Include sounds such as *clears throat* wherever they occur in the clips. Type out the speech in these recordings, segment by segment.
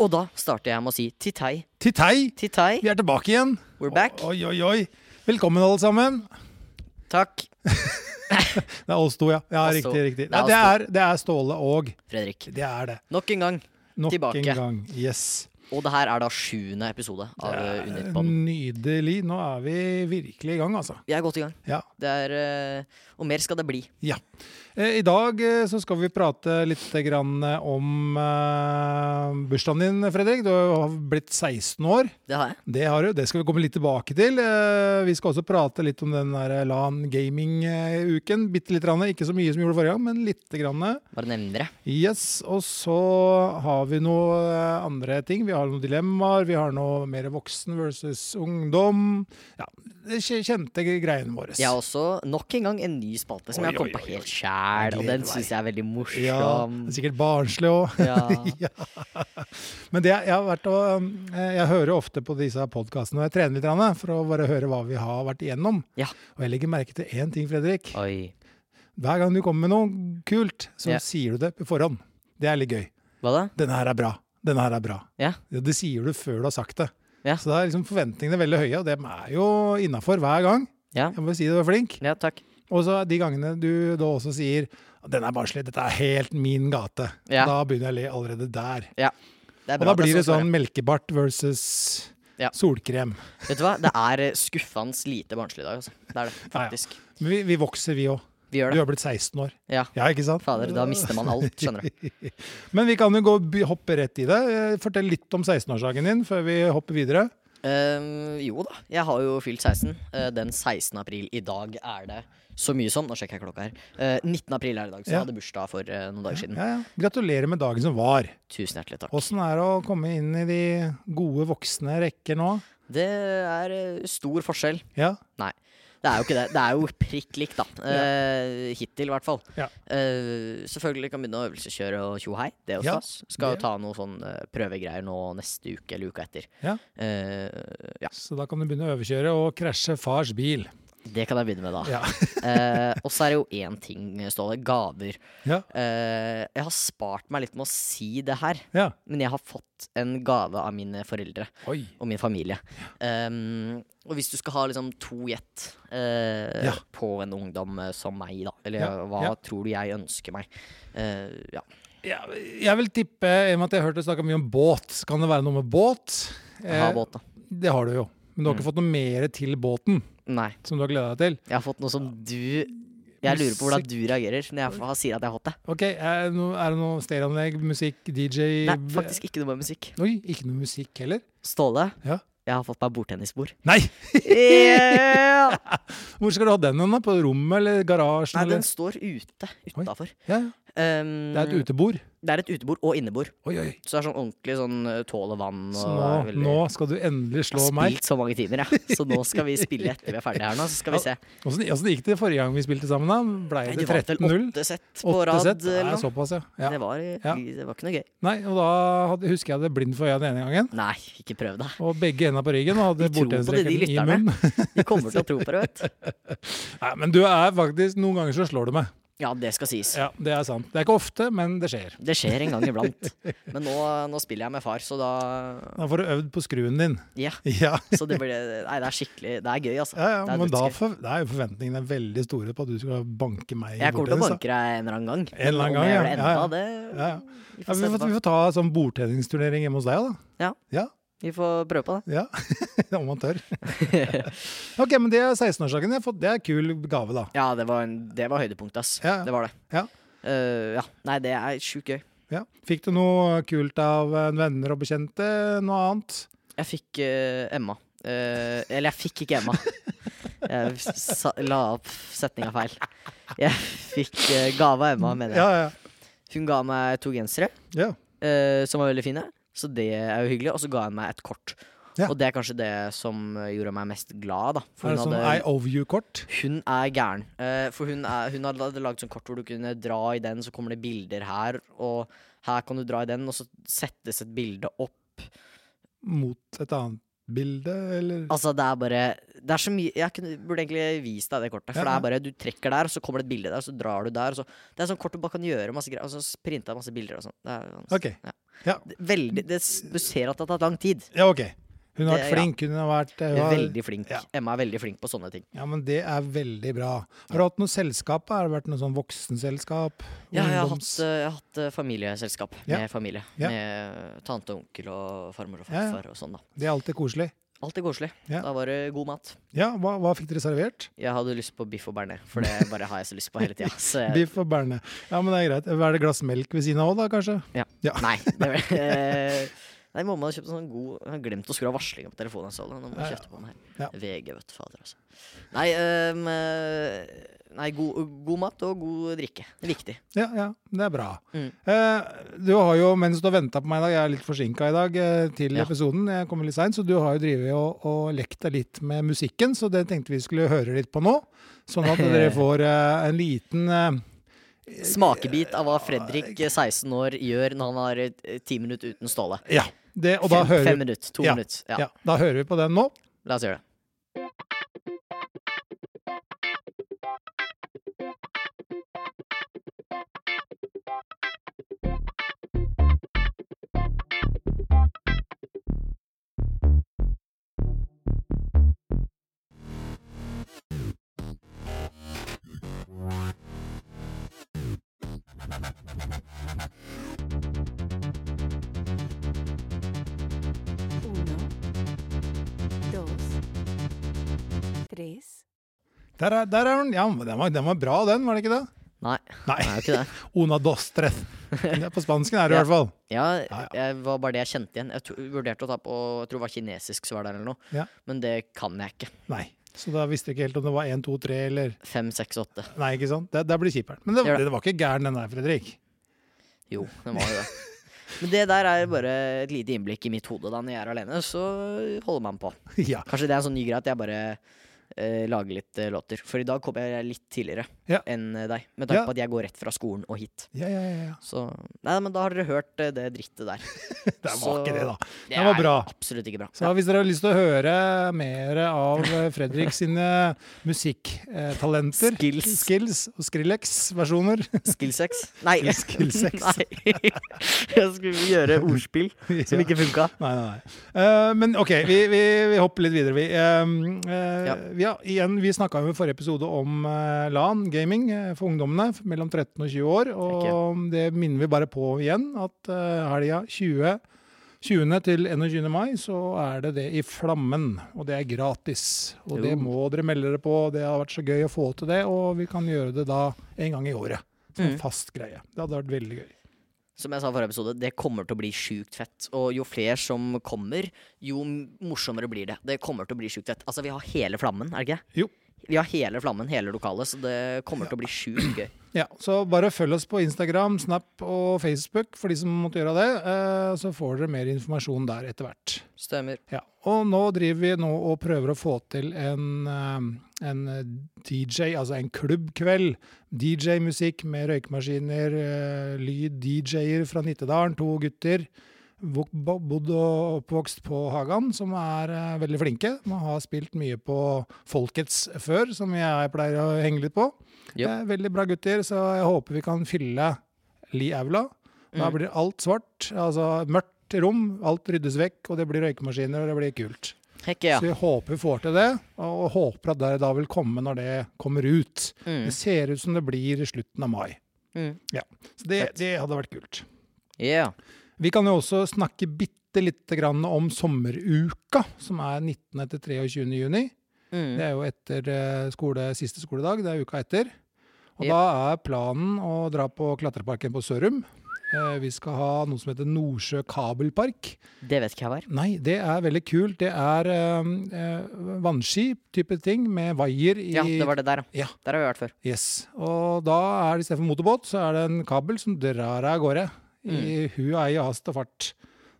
Og da starter jeg med å si titei. Titei, Titei, vi er tilbake igjen. we're back. Oi, oi, oi. Velkommen, alle sammen. Takk, Det er oss to, ja. Ja, Oss to. riktig, riktig. Det er Nei, oss det, to. er, det er Ståle og Fredrik. Det er det. Nok en gang. Nok Tilbake. en gang. Yes. Og det her er da sjuende episode av eh, Unitpodden. Nydelig. Nå er vi virkelig i gang, altså. Vi er godt i gang. Ja. Det er, eh, og mer skal det bli. ja. Eh, I dag eh, så skal vi prate litt grann eh, om eh, bursdagen din, Fredrik. Du har blitt 16 år. Det har jeg. Det har du. Det skal vi komme litt tilbake til. Eh, Vi skal også prate litt om den der LAN gaming-uken. Bitte litt. Grann. Ikke så mye som vi gjorde forrige gang, men lite grann. Bare nevner det. Yes, og så har vi noe eh, andre ting. Vi har noen dilemmaer. Vi har noe mer voksen versus ungdom. Ja, det kje- kjente greiene våre. Jeg har også nok en gang en ny spalte som Oi, jeg kom oi, på oi, helt oi. sjæl, og Gleder den meg. syns jeg er veldig Ja, morsom. *laughs* det er sikkert barnslig òg. Ja. *laughs* Men det, jeg, har vært og, um, eh, jeg hører ofte på disse podkastene og jeg trener litt grann, eh, for å bare høre hva vi har vært igjennom. Ja. Og jeg legger merke til én ting, Fredrik. Oi. Hver gang du kommer med noe kult, så Ja. sier du det på forhånd. Det er litt gøy. Hva da? Denne her er bra. Denne her er bra. Ja. Ja, Det sier du før du har sagt det. Ja. Så da er liksom forventningene veldig høye, og dem er jo innafor hver gang. Ja. Jeg må bare si du var flink. Ja, takk. Og så de gangene du da også sier 'den er barnslig, dette er helt min gate', Ja. da begynner jeg å le allerede der. Det er Og bra da at blir det skal være. sånn melkebart versus Ja. solkrem. Vet du hva, det er eh, skuffende lite barnslig i dag, altså. Det er det, Ja, ja. faktisk. Men vi, vi vokser, vi òg. Vi gjør Du det. har blitt 16 år. Ja. Ja, ikke sant? Fader, da mister man alt, skjønner du. Men vi kan jo gå, by- hoppe rett i det. Eh, Fortell litt om 16-årsdagen din før vi hopper videre. Eh, jo da, jeg har jo fylt 16. Eh, den 16. april i dag er det så mye som Nå sjekker jeg klokka her. Eh, 19. april er det i dag, så Ja. jeg hadde bursdag for eh, noen dager siden. Ja, ja. Gratulerer med dagen som var. Tusen hjertelig takk. Åssen er det å komme inn i de gode voksne rekker nå? Det er eh, stor forskjell. Ja, Nei. Det er jo ikke det. Det er jo prikk likt, da. Eh, hittil, i hvert fall. Ja. Eh, selvfølgelig kan begynne å øvelseskjøre og tjo og hei. Det er jo Ja, stas. Skal jo det. ta noen sånn eh, prøvegreier nå neste uke eller uka etter. Ja. Eh, ja. Så da kan du begynne å overkjøre og krasje fars bil. Det kan jeg begynne med, da. Ja. *laughs* Eh, og så er det jo én ting, Ståle. Gaver. Ja. Eh, jeg har spart meg litt med å si det her, ja. men jeg har fått en gave av mine foreldre Oi. og min familie. Ehm, og hvis du skal ha liksom to gjett eh, Ja. på en ungdom eh, som meg, da, eller Ja, hva ja. tror du jeg ønsker meg? Eh, ja. Ja, jeg vil tippe, i og med at jeg har hørt deg snakke mye om båt, kan det være noe med båt? Eh. Ha båt, da. Det har du jo. Men du har ikke Mm. fått noe mer til båten Nei. som du har gleda deg til? Jeg har fått noe som du Jeg lurer på hvordan du reagerer når jeg har- sier at jeg har fått det. Ok, Er det noe, er det noe stereoanlegg, musikk, DJ Nei, faktisk ikke noe med musikk. Oi, ikke noe musikk heller? Ståle, Ja. jeg har fått meg *laughs* bordtennisbord. Nei! Yeah! Hvor skal du ha den hen? da? På rommet eller garasjen? Nei, den eller? står ute. Utafor. Ja, ja. Um, det er et utebord. det er et utebord og innebord. Oi, oi. Så det er sånn ordentlig sånn eh, tåler vann. Og Så nå, er veldig- nå skal du endelig Jeg slå har meg. spilt så mange timer, jeg. Så nå skal vi spille etter vi er ferdige her nå. Så skal vi se. Åssen åssen gikk det forrige gang vi spilte sammen? da? Blei Nei, det det var vel 13-0? åtte sett på Åtte rad. sett? eller Nei, noe. såpass, ja. ja. Det, var, Ja. det var ikke noe gøy. Nei, og da hadde, husker jeg det blind for øya den ene gangen. Nei, ikke prøv deg. Og begge hendene på ryggen og De hadde tror på det, de bordtennisracketen i lytterne. munnen. *laughs* De kommer til å tro på det, vet du. Nei, men du er faktisk Noen ganger så slår du meg. Ja, det skal sies. Ja, Det er sant. Det er ikke ofte, men det skjer. Det skjer en gang iblant. Men nå, nå spiller jeg med far, så da Da får du øvd på skruen din. Ja. *laughs* Ja, Så det blir Nei, det er skikkelig Det er gøy, altså. ja, ja Det er men da dødsgøy. for, det er jo forventningene veldig store på at du skal banke meg i Jeg kommer til å bordtennis. da. banke deg en eller annen gang. altså. En eller annen Om jeg gjør gang, det ja. enda, Ja, Ja, ja. det Vi Ja, får vi, se får, på. vi får ta sånn bordtennisturnering hjemme hos deg, da. Vi får prøve på det. Ja, *laughs* Om man *laughs* tør. ok, men det er 16-årsdagen. jeg har fått- Det er kul gave, da. Ja, det var, en, det var høydepunktet, ass. Ja, ja. Det var det. Ja. Eh, ja. Nei, det er sjukt gøy. Ja. Fikk du noe kult av eh, venner og bekjente? Noe annet? Jeg fikk eh, Emma. Eh, eller jeg fikk ikke *laughs* Emma. Jeg sa, la opp setninga feil. Jeg fikk eh, gave av Emma, mener jeg. Ja, ja. Hun ga meg to gensere, ja. eh, som var veldig fine. Så det er jo hyggelig. Og så ga hun meg et kort. Ja. Og det er kanskje det som gjorde meg mest glad. da Er For det hun, sånn I hadde, owe you-kort? hun er gæren. Eh, for hun, er, hun hadde lagd sånn kort hvor du kunne dra i den, så kommer det bilder her, og her kan du dra i den, og så settes et bilde opp. mot et annet bilde, eller Altså, det er bare Det er så mye Jeg kunne, burde egentlig vist deg det kortet. For Ja, det ja. er bare Du trekker der, og så kommer det et bilde der, og så drar du der. Og så, det er sånn kort du bare kan gjøre masse greier. Og så printa masse bilder og sånn. Det er ganske- Ok. Ja. Ja. Veldig, det, s- du ser at det har tatt lang tid. ja, OK. Hun har Det- vært ja. flink. Hun har vært eh, hun har, Veldig flink. ja. Emma er veldig flink på sånne ting. Ja, men det er veldig bra. Har du hatt noe selskap? Har det vært noe sånn voksenselskap? Ja, jeg har hatt, Ungdoms- eh, jeg har hatt eh, familieselskap Ja. med familie. Ja. Med eh, tante og onkel og farmor og Ja, ja. farfar og sånn, da. Det er alltid koselig. Alt er koselig. Ja. Da var det god mat. Ja, hva, hva fikk dere servert? Jeg hadde lyst på biff og bearnés, for det bare har jeg så lyst på hele tida. Så jeg, Biff og berne. Ja, men det er greit. Er det et glass melk ved siden av òg, da, kanskje? nei, det var, *laughs* eh, nei, mamma hadde kjøpt en sånn god Jeg har glemt å skru av varslinga på telefonen. jeg Så det. Nå må jeg Ja, ja. kjefte på den her. Ja. VG, vet du fader, altså. Nei, ehm, eh, nei god, god mat og god drikke. Det er viktig. Ja, ja. Det er bra. Mm. Eh, du har jo, mens du har venta på meg i dag, jeg er litt forsinka i dag eh, til Ja. episoden, jeg kommer litt seint, så du har jo drevet og, og lekt deg litt med musikken, så det tenkte vi skulle høre litt på nå. Sånn *laughs* at dere får eh, en liten eh, Smakebit av hva Fredrik, eh, 16 år, gjør når han har eh, 10 minutter uten Ståle. Ja. Det, og da fem, hører, fem minutter. To Ja, minutter. Ja. ja, da hører vi på den nå. La oss gjøre det. Uno, dos, tres. Der er, der er den. Ja, men den var, den var bra, den, var det ikke det? Nei, Nei. det er jo ikke det. *laughs* Una dos tres. Det er på spansken er *laughs* det i Ja. hvert fall. Ja, ja. jeg var bare det jeg kjente igjen. Jeg to- vurderte å ta på jeg tror det var kinesisk svar der eller noe, Ja. men det kan jeg ikke. Nei. Så da visste du ikke helt om det var én, to, tre eller Fem, seks, åtte. Nei, ikke sant? Det, det blir kjipere. Men det, Gjør det. det. var ikke gæren, den der, Fredrik. *laughs* Jo, det var jo det. Men det der er bare et lite innblikk i mitt hode. Da når jeg er alene, så holder man på. Ja. Kanskje det er en sånn ny greie at jeg bare eh, lager litt eh, låter. For i dag kom jeg litt tidligere Ja. enn eh, deg, med Ja. tanke på at jeg går rett fra skolen og hit. Ja, ja, ja, *laughs* ja. Så Nei, men da har dere hørt eh, det drittet der. Det var Så- ikke det, da. Det var er bra. Absolutt ikke bra. Så hvis dere har lyst til å høre mer av eh, Fredrik sine musikktalenter Skills. skills og *laughs* Skrillex-versjoner Skillsex? Nei. Skillsex. *laughs* Nei. Jeg skulle gjøre ordspill som *laughs* Ja. ikke funka. Nei, nei, nei. Eh, men OK, vi, vi, vi hopper litt videre, vi. Eh, eh, Ja. vi, har- igjen, vi snakka jo i forrige episode om eh, LAN gaming eh, for ungdommene f- mellom 13 og 20 år. Og det minner vi bare på igjen, at uh, helga 20. 20. til 21. mai så er det det i Flammen, og det er gratis. Og det Jo. må dere melde dere på. Det har vært så gøy å få til det, og vi kan gjøre det da en gang i året. Som en Mm. fast greie. Det hadde vært veldig gøy. Som jeg sa i forrige episode, det kommer til å bli sjukt fett. Og jo flere som kommer, jo morsommere blir det. Det kommer til å bli sjukt fett. Altså, vi har hele flammen, er det ikke? Jo. Vi har hele flammen, hele lokalet, så det kommer til å bli sjukt gøy. Ja, så bare følg oss på Instagram, Snap og Facebook for de som måtte gjøre det. eh, Så får dere mer informasjon der etter hvert. Stemmer. Ja, og nå driver vi nå og prøver å få til en, eh, en DJ, altså en klubbkveld. DJ-musikk med røykemaskiner, eh, lyd, DJ-er fra Nittedalen, to gutter. vok- bo- Bodd og oppvokst på Hagan, som er eh, veldig flinke. Man har spilt mye på Folkets før, som jeg pleier å henge litt på. Ja. Eh, Veldig bra gutter, så jeg håper vi kan fylle Li Aula. Da Mm. blir alt svart, altså mørkt rom, alt ryddes vekk, og det blir røykemaskiner, og det blir kult. Hekke, ja. Så vi håper vi får til det, og og håper at det da vil komme når det kommer ut. Mm. Det ser ut som det blir i slutten av mai. Mm. Så det, det hadde vært kult. Yeah. Vi kan jo også snakke bitte lite grann om sommeruka, som er 19. til 23. juni. Mm. Det er jo etter eh, skole, siste skoledag, det er uka etter. Og Ja. da er planen å dra på klatreparken på Sørum. Eh, Vi skal ha noe som heter Nordsjø kabelpark. Det vet ikke jeg hva er. Nei, det er veldig kult. Det er eh, eh, vannski type ting med vaier i Ja, det var det der, Ja. Der har vi vært før. Yes. Og da er det istedenfor motorbåt, så er det en kabel som drar deg av gårde. I hu og ei og hast og fart.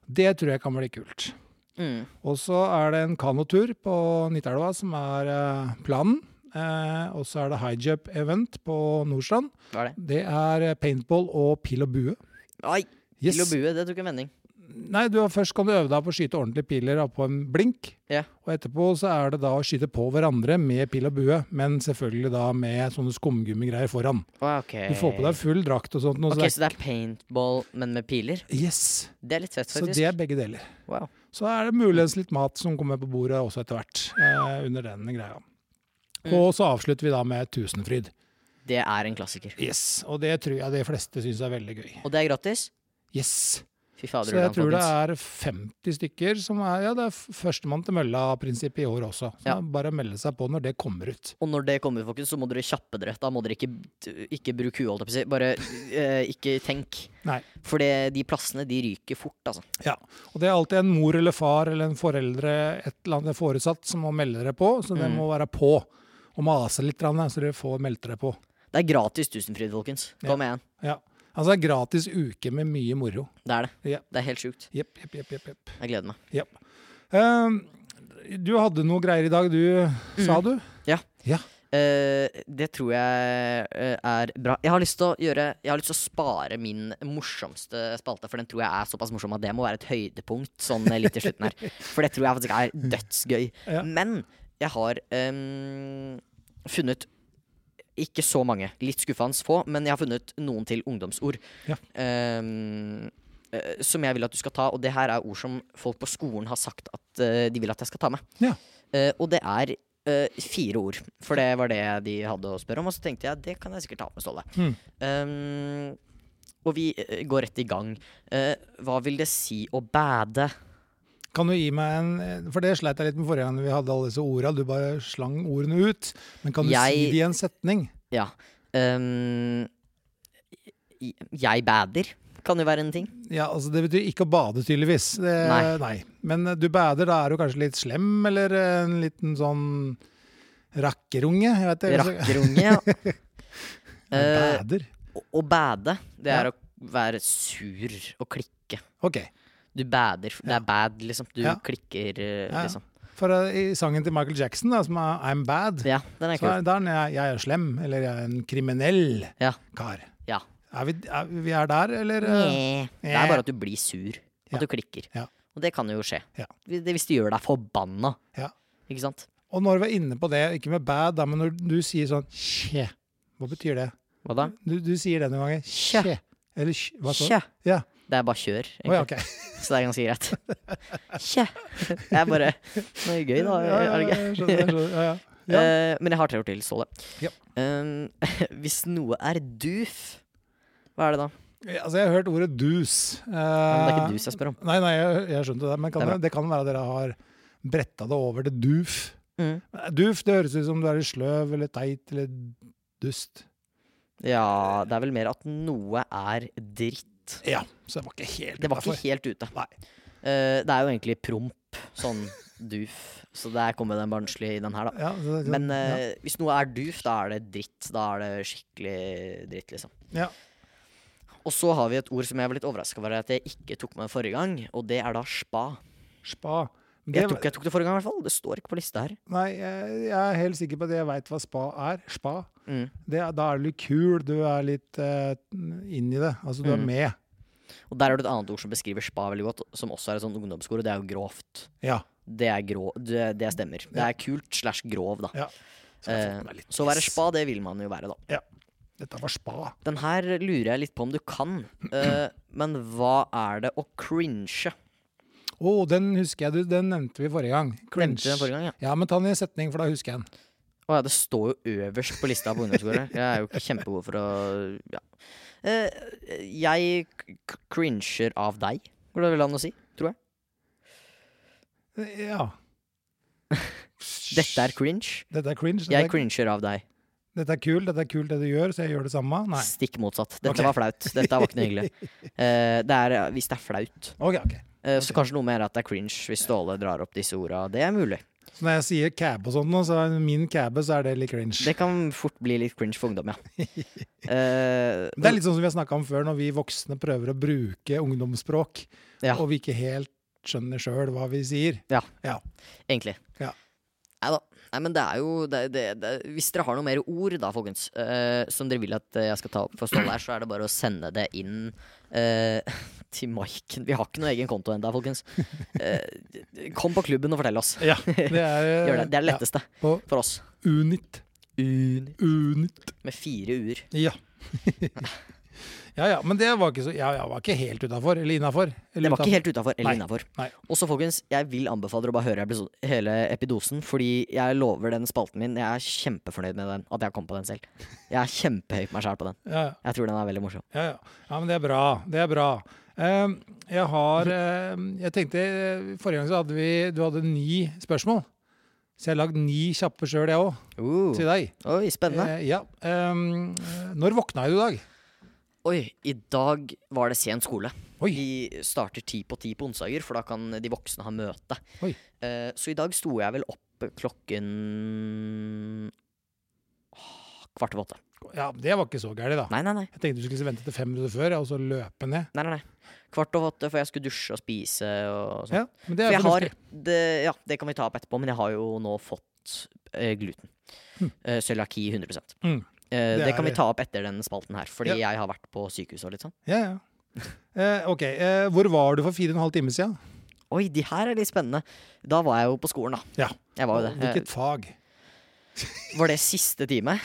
Det tror jeg kan bli kult. Mm. Og så er det en kanotur på Nittelva som er eh, planen. Eh, og så er det high jump event på Nordstrand. Hva er det? Det er eh, paintball og pil og bue. Ai, Yes. Pil og bue, det tok en vending. Nei, du, har- først kan du øve deg på å skyte ordentlige piler da, på en blink. Ja. Og etterpå så er det da å skyte på hverandre med pil og bue, men selvfølgelig da med sånne skumgummigreier foran. Å, ok. Du får på deg altså. full drakt og sånt. Noe, Eh. Ok, så det Så det er paintball, men med piler? er, yes. Det er litt fett, Så faktisk. det er begge deler. Wow. Så er det muligens litt mat som kommer på bordet også etter hvert. Eh, under den greia. Mm. Og så avslutter vi da med Tusenfryd. Det er en klassiker. Yes. Og det tror jeg de fleste syns er veldig gøy. Og det er gratis? Yes. Fy fader, Så jeg Ulan, tror det folkens. er 50 stykker som er Ja, det er f- førstemann til mølla-prinsippet i år også. Så Ja. det er bare å melde seg på når det kommer ut. Og når det kommer, folkens, så må dere kjappe dere. Da må dere ikke, ikke bruke huet, holdt jeg på å si. Bare eh, ikke tenk. Nei. For det, de plassene, de ryker fort, altså. Og det er alltid en mor eller far eller en foreldre, et eller annet foresatt, som må melde dere på. Så det Mm. må være på. Og mase litt, grann, så dere får meldt dere på. Det er gratis Tusenfryd, folkens. Kom igjen. Ja. Altså en gratis uke med mye moro. Det er det. Ja. Det er helt sjukt. Jepp, jepp, jepp. jepp, jepp. Jeg gleder meg. Jepp. Eh, du hadde noe greier i dag, du, sa du? Eh, det tror jeg eh, er bra. Jeg har lyst til å gjøre Jeg har lyst til å spare min morsomste spalte, for den tror jeg er såpass morsom at det må være et høydepunkt sånn eh, litt i slutten her. For det tror jeg faktisk er dødsgøy. Ja. Men jeg har em, funnet ikke så mange. Litt skuffende få, men jeg har funnet noen til ungdomsord. Ja. Em, eh, som jeg vil at du skal ta, og det her er ord som folk på skolen har sagt at eh, de vil at jeg skal ta med. Ja. Eh, og det er eh, fire ord, for det var det de hadde å spørre om. Og så tenkte jeg det kan jeg sikkert ta med Ståle. Mm. Em, og vi eh, går rett i gang. Eh, hva vil det si å bæde? Kan du gi meg en For det sleit jeg litt med forrige gang vi hadde alle disse orda. Du bare slang ordene ut. Men kan du Jeg- si det i en setning? Ja. em, j- jeg bæder kan jo være en ting. Ja, altså Det betyr ikke å bade, tydeligvis. Det, nei. Nei. Men eh, du bader, da er du kanskje litt slem, eller eh, en liten sånn rakkerunge? Jeg vet ikke. altså. Rakkerunge, ja. Eh, *laughs* bader? å- å bæde, det er Ja. å være sur og klikke. Ok. Du bader. Det Ja. er bad, liksom. Du Ja. klikker, eh, Ja, ja. liksom. For eh, i sangen til Michael Jackson, da, som er I'm Bad, Ja, den er så kul. er, da er den jeg, jeg er slem, eller jeg er en kriminell Ja. kar. Ja. Er vi, er, vi er der, eller? eh? Nye. Det er bare at du blir sur. At Ja. du klikker. Ja. Og det kan jo skje. Ja. Hvis- det- Hvis du gjør deg forbanna. Ja. Ikke sant? Og når vi er inne på det, ikke med bad, da, men når du sier sånn kje, hva betyr det? Hva da? Du, du sier det noen ganger. Kje. Kje. Eller kje. Hva så? Tja. Ja. Det er bare kjør, egentlig. Å ja, ok. Så det er ganske greit. *laughs* Tja. Det er bare Det er gøy, da. Ja, ja, Er det ja, ikke? jeg skjønner, jeg skjønner. Ja, ja. Ja. *laughs* Eh, men jeg har tre ord til, Ståle. Ja. Um, *laughs* hvis noe er doof, hva er det da? Altså, jeg har hørt ordet dus. Eh, Men det er ikke dus jeg spør om. Nei, nei, jeg, jeg skjønte det. Men kan Det er det, bra. det kan være dere har bretta det over til duf. Mm. Duf, det høres ut som du er litt sløv eller teit eller dust. Ja, det er vel mer at noe er dritt. Ja, så jeg var ikke helt Det var ikke innafor. helt ute. Nei. Eh, det er jo egentlig promp, sånn *laughs* doof. Så der kommer den barnslige i den her, da. Ja, så, det er sånn- Men ja. eh, hvis noe er doof, da er det dritt. Da er det skikkelig dritt, liksom. Ja. Og så har vi et ord som jeg var litt overraska over at jeg ikke tok med forrige gang, og det er da spa. Spa. Men Jeg det- tror ikke jeg tok det forrige gang, i hvert fall. Det står ikke på lista her. Nei, jeg, jeg er helt sikker på at jeg veit hva spa er. Spa. Mm. Det, er- da er du litt kul, du er litt uh, inn i det. Altså, du er Mm. med. Og der er det et annet ord som beskriver spa veldig godt, som også er et sånn ungdomsord, og det er jo grovt. Ja. Det er grå, det, det stemmer. Det er kult slash grov, da. ja. Så jeg har fått meg Eh, litt så å være piss. spa, det vil man jo være, da. Dette var spa. Den her lurer jeg litt på om du kan. *clears throat* eh, men hva er det å cringe? Å, den husker jeg, du. Den nevnte vi forrige gang. Cringe. Nevnte den forrige gang, ja. Ja, men ta den i en setning, for da husker jeg den. Å ja, det står jo øverst på lista på ungdomsskolen. Jeg er jo ikke kjempegod for å ja. Eh, jeg k- k- cringer av deg, går det vel an å si? Tror jeg. Eh, Ja. *laughs* Dette er cringe. Dette er cringe. Dette Jeg er, cringer av deg. dette er kul, dette er kult det du gjør, så jeg gjør det samme. Nei. Stikk motsatt. Dette Ok. var flaut. Dette var ikke noe hyggelig. *laughs* Eh, det er, hvis det er flaut. Ok, ok. Eh, Så kanskje noe mer at det er cringe hvis Ståle drar opp disse orda. Det er mulig. Så når jeg sier cab og sånn nå, så er min cabbe, så er det litt cringe. Det kan fort bli litt cringe for *laughs* ungdom, ja. Eh, Det er litt sånn som vi har snakka om før, når vi voksne prøver å bruke ungdomsspråk, Ja. og vi ikke helt skjønner sjøl hva vi sier. Egentlig. Ja. Nei da. Nei, men det er jo det, det, det, Hvis dere har noen mer ord, da, folkens, eh, *laughs* som dere vil at eh, jeg skal ta opp for Ståle her, så er det bare å sende det inn eh, til Maiken. Vi har ikke noe egen konto ennå, folkens. Eh, kom på klubben og fortell oss. Ja, *laughs* det er, *laughs* Gjør det. Det er det letteste Eh, Ja, på for oss. Unit. Unit. Med fire u-er. *laughs* Ja. ja ja, men det var ikke, så, ja, ja, var ikke helt utafor. Eller innafor. Det var ikke helt utafor eller Nei, innafor. nei. Og så, folkens, jeg vil anbefale dere å bare høre episo- hele epidosen, fordi jeg lover den spalten min. Jeg er kjempefornøyd med den, at jeg kom på den selv. Jeg er kjempehøy på meg sjæl på den. Ja, ja. Jeg tror den er veldig morsom. Ja, ja. ja, men det er bra. Det er bra. Eh, Jeg har eh, Jeg tenkte eh, Forrige gang så hadde vi Du hadde ni spørsmål. Så jeg har lagd ni kjappe sjøl, jeg òg, Uh, til deg. oi, spennende. Eh, Ja. eh, Når våkna jeg i dag? Oi, i dag var det sen skole. Oi. Vi starter ti på ti på onsdager, for da kan de voksne ha møte. Oi. Eh, så i dag sto jeg vel opp klokken Åh, ah, Kvart over åtte. Ja, det var ikke så gærent, da. Nei, nei, nei. Jeg tenkte du skulle vente til fem minutter før, ja, og så løpe ned. nei, nei, nei. Kvart over åtte, for jeg skulle dusje og spise og sånn. Ja, men For det er jeg har fornuftig. det, Ja, det kan vi ta opp etterpå, men jeg har jo nå fått eh, gluten. Eh, cøliaki 100 Hm. Eh, Mm. Det det, kan er- vi ta opp etter den spalten her, fordi jeg har vært på sykehuset og litt sånn. Ja, ja. Eh, OK. eh, Hvor var du for fire og en halv time siden? Oi, de her er litt spennende. Da var jeg jo på skolen, da. Ja. Jeg var jo det. Hvilket fag? Eh, Var det siste time?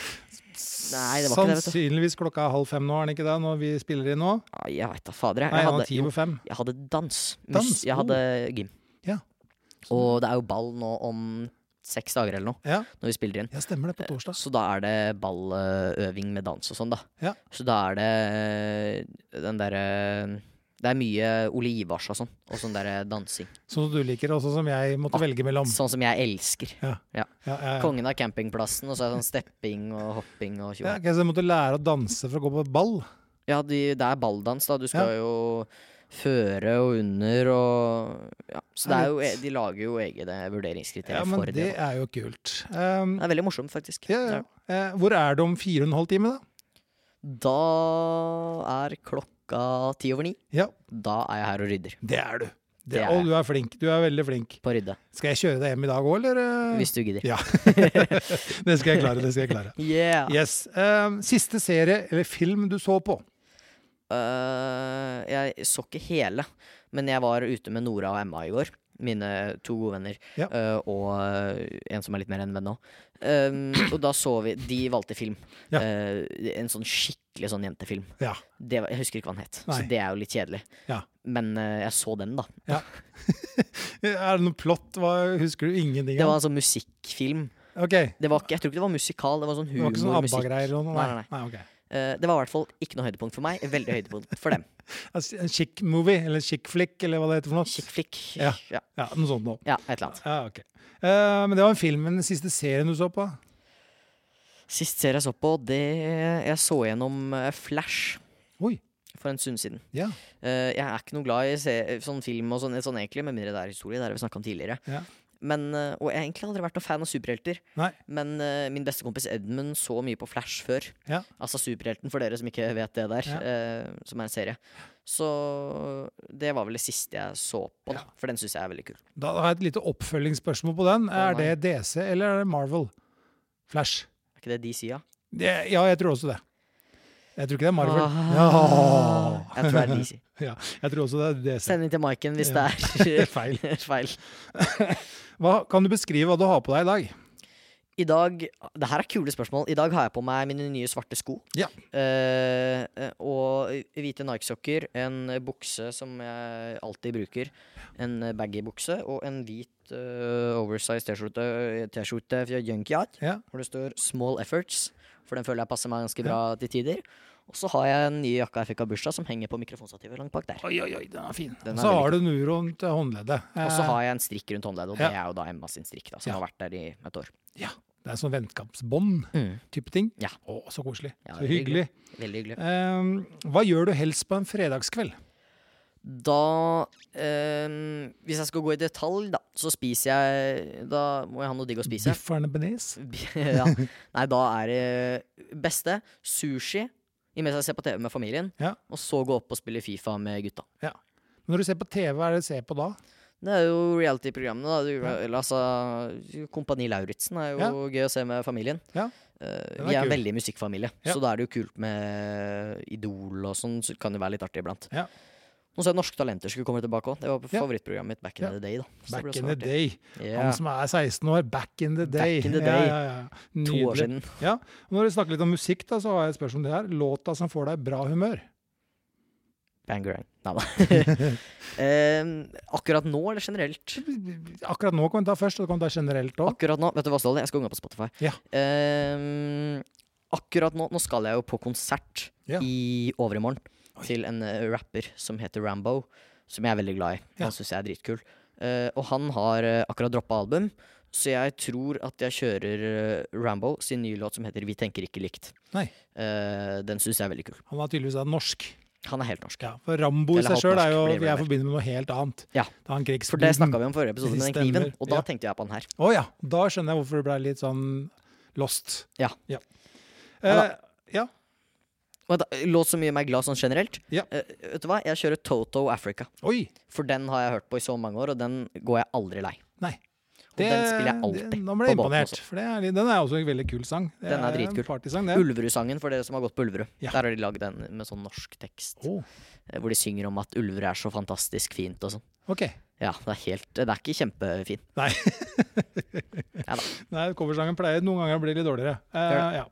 Nei, det var ikke det, vet du. Sannsynligvis klokka er halv fem nå, er den ikke det, når vi spiller inn nå? Nei, jeg veit da fader. Jeg, Nei, jeg, den var hadde, ti jo, over fem. jeg hadde dans. Dans, Mus- Jeg oh. hadde gym. Ja. Og det er jo ball nå om seks dager eller noe, Ja. når vi spiller inn. Ja, stemmer det. På torsdag. Så da er det balløving med dans og sånn, da. Ja. Så da er det øh, den derre Det er mye Ole Ivars og sånn, og sånn derre dansing. Sånn som du liker, og sånn som jeg måtte velge mellom. Sånn som jeg elsker. Ja. Ja. Ja, ja, ja. Kongen av campingplassen, og så er det sånn stepping og hopping og Ja, tjoe. ok, så jeg måtte lære å danse for å gå på ball? Ja, de, det er balldans, da. Du skal jo føre og under og ja. Så det er jo, E, de lager jo egne vurderingskriterier Ja, men for det. det da. er jo kult. Um, Det er veldig morsomt, faktisk. ja, ja. Eh, Hvor er det om fire og en halv time, da? Da er klokka ti over ni. Ja, Da er jeg her og rydder. det er du. Det, Det er og jeg. du er flink. Du er veldig flink. På rydde. Skal jeg kjøre deg hjem i dag òg, eller? eh? Hvis du gidder. Ja. *laughs* det skal jeg klare. Det skal *laughs* jeg klare. Yeah! Yes. Um, siste serie eller film du så på? Øh, jeg så ikke hele, men jeg var ute med Nora og Emma i går. Mine to gode venner. Ja. øh, og øh, en som er litt mer enn venn nå. Um, og da så vi De valgte film. Ja. Øh, en sånn skikkelig sånn jentefilm. Ja. Det var, jeg husker ikke hva den het, Nei. så det er jo litt kjedelig. Ja. Men øh, jeg så den, da. Eh, Er det noe plott? Hva, husker du ingenting? Det var altså musikkfilm. Ok. Det Det var ikke, jeg tror ikke det var musikal, det var sånn var ikke sånn humormusikk. ABBA-greier eller noe? Nei, nei, nei. ok. Eh, det var i hvert fall ikke noe høydepunkt for meg. Veldig høydepunkt for dem. Altså, En chick movie, eller chick flick, eller hva det heter for noe. Chick flick. Ja. Ja, Ja, noe sånt nå. ja, et eller annet. Ja, ok. Eh, men det var en film, men den siste serien du så på? Sist serie jeg så på, det Jeg så gjennom eh, Flash Oi, for en stund siden. ja. Eh, jeg er ikke noe glad i se sånn film og sånn, sånn egentlig, med mindre det er historie. Det har vi snakket om tidligere. Ja. Men, eh, og jeg har egentlig aldri vært noen fan av superhelter. Nei. Men eh, min beste kompis Edmund så mye på Flash før. Ja. Altså superhelten, for dere som ikke vet det der. Ja. eh, som er en serie. Så det var vel det siste jeg så på, da. For den syns jeg er veldig kul. Da har jeg et lite oppfølgingsspørsmål på den. Å, er det nei. DC eller er det Marvel? Flash? Er ikke det de sier? Det, ja, jeg tror også det. Jeg tror ikke det er Marvel. Ah, Ja. Jeg tror det er DC. ja, jeg tror også det er DC. Send den til Maiken hvis Ja. det er *laughs* Feil. feil. Hva, kan du beskrive hva du har på deg i dag? I dag Det her er kule spørsmål. I dag har jeg på meg mine nye svarte sko. Ja. Eh, og hvite Nike-sokker, en bukse som jeg alltid bruker. En baggy bukse og en hvit eh, oversized T-skjorte eh, T-skjorte fra Junkyard. Ja. Hvor det står 'Small Efforts', for den føler jeg passer meg ganske bra til tider. Og så har jeg den nye jakka jeg fikk av bursdag, som henger på mikrofonstativet langt bak der. Oi, oi, oi, den er fin. Den er så veldig har du Nuron til håndleddet. Og så Eh, har jeg en strikk rundt håndleddet, og Ja. det er jo da Emma sin strikk, da, som Ja. har vært der i et år. ja, det er sånn vennskapsbånd-type ting. Mm. Ja. Å, så koselig. Ja, så veldig hyggelig. Veldig hyggelig. Eh, hva gjør du helst på en fredagskveld? Da ehm, Hvis jeg skal gå i detalj, da, så spiser jeg Da må jeg ha noe digg å spise. Biff bearnés? *laughs* ja. Nei, da er det eh, beste sushi imens jeg ser på TV med familien, Ja. og så gå opp og spille Fifa med gutta. Når du ser på TV, hva er det du ser på da? Det er jo reality-programmene, da. Du, eller, altså, Kompani Lauritzen er jo Ja. gøy å se med familien. Ja. Eh, Den er vi er en kul. veldig musikkfamilie, Ja. så da er det jo kult med Idol og sånn. Så det kan jo være litt artig iblant. Ja. Nå så jeg Norske Talenter skulle komme tilbake òg. Det var Ja. favorittprogrammet mitt back in Ja. the day. da. Så det ble Back også in the artig. day. Ja. Han som er 16 år, back in the day. Back in the Ja, day. ja, ja. To år Nydelig. siden. Ja, og Når vi snakker litt om musikk, da, så har jeg et spørsmål om det her. Låta som får deg i bra humør? Bangerang. Nei *laughs* da. *laughs* Em, akkurat nå, eller generelt? Akkurat nå kan vi ta først, og så kan vi ta generelt òg. Akkurat nå, vet du hva, Ståle? Jeg skal unge på Spotify. Ja. Em, akkurat nå Nå skal jeg jo på konsert Ja. i overmorgen til en eh, rapper som heter Rambo, som jeg er veldig glad i. Ja. Han syns jeg er dritkul. Eh, og han har eh, akkurat droppa album, så jeg tror at jeg kjører eh, Rambo sin nye låt som heter Vi tenker ikke likt. Nei. Eh, den syns jeg er veldig kul. Han er tydeligvis da norsk. Han er helt norsk. Ja, for Rambo i Eller seg sjøl er jo halvnorsk, blir det vi er vel. forbundet med noe helt annet. Ja. Det er han For det snakka krigsguden. vi om i forrige episode, med den Mm. Stemmer, kniven, og da ja. tenkte jeg på den her. Å ja, da skjønner jeg hvorfor du ble litt sånn lost. Ja. ja. Ja Eh, ja. Vent, da, låt som gjør meg glad sånn generelt. Ja. Eh, vet du hva? Jeg kjører Toto Africa. Oi! For den har jeg hørt på i så mange år, og den går jeg aldri lei. Nei. Og den spiller jeg alltid. det- Nå ble jeg på båten imponert. også. For det er, litt- den er også en veldig kul sang. Det Den er en dritkul. Partysang, det. Ulverud-sangen, for dere som har gått på Ulverud. Ja. Der har de lagd den med sånn norsk tekst. Å, eh, Hvor de synger om at ulver er så fantastisk fint og sånn. OK. Ja, det er helt Det er ikke kjempefin. Nei. Ja da. Nei, coversangen pleier noen ganger å bli litt dårligere. Eh, ja.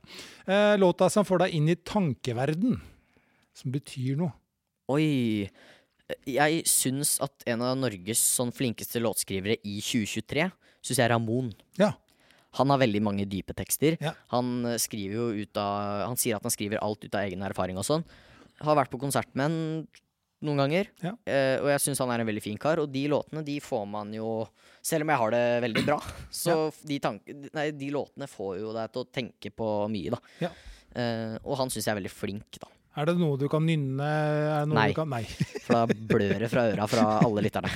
Gjør eh, låta som får deg inn i tankeverden, som betyr noe. Oi. Jeg syns at en av Norges sånn flinkeste låtskrivere i 2023, syns jeg er Ramon. Ja. Han har veldig mange dype tekster. Ja. Han eh, skriver jo ut av Han sier at han skriver alt ut av egen erfaring og sånn. Har vært på konsert med han noen ganger, Ja. eh, og jeg syns han er en veldig fin kar. Og de låtene, de får man jo Selv om jeg har det veldig bra, *laughs* så de, tank, nei, de låtene får jo deg til å tenke på mye, da. Ja. Eh, og han syns jeg er veldig flink, da. Er det noe du kan nynne? Er det noe Nei. Du kan? Nei. *laughs* For da blør det fra øra fra alle lytterne.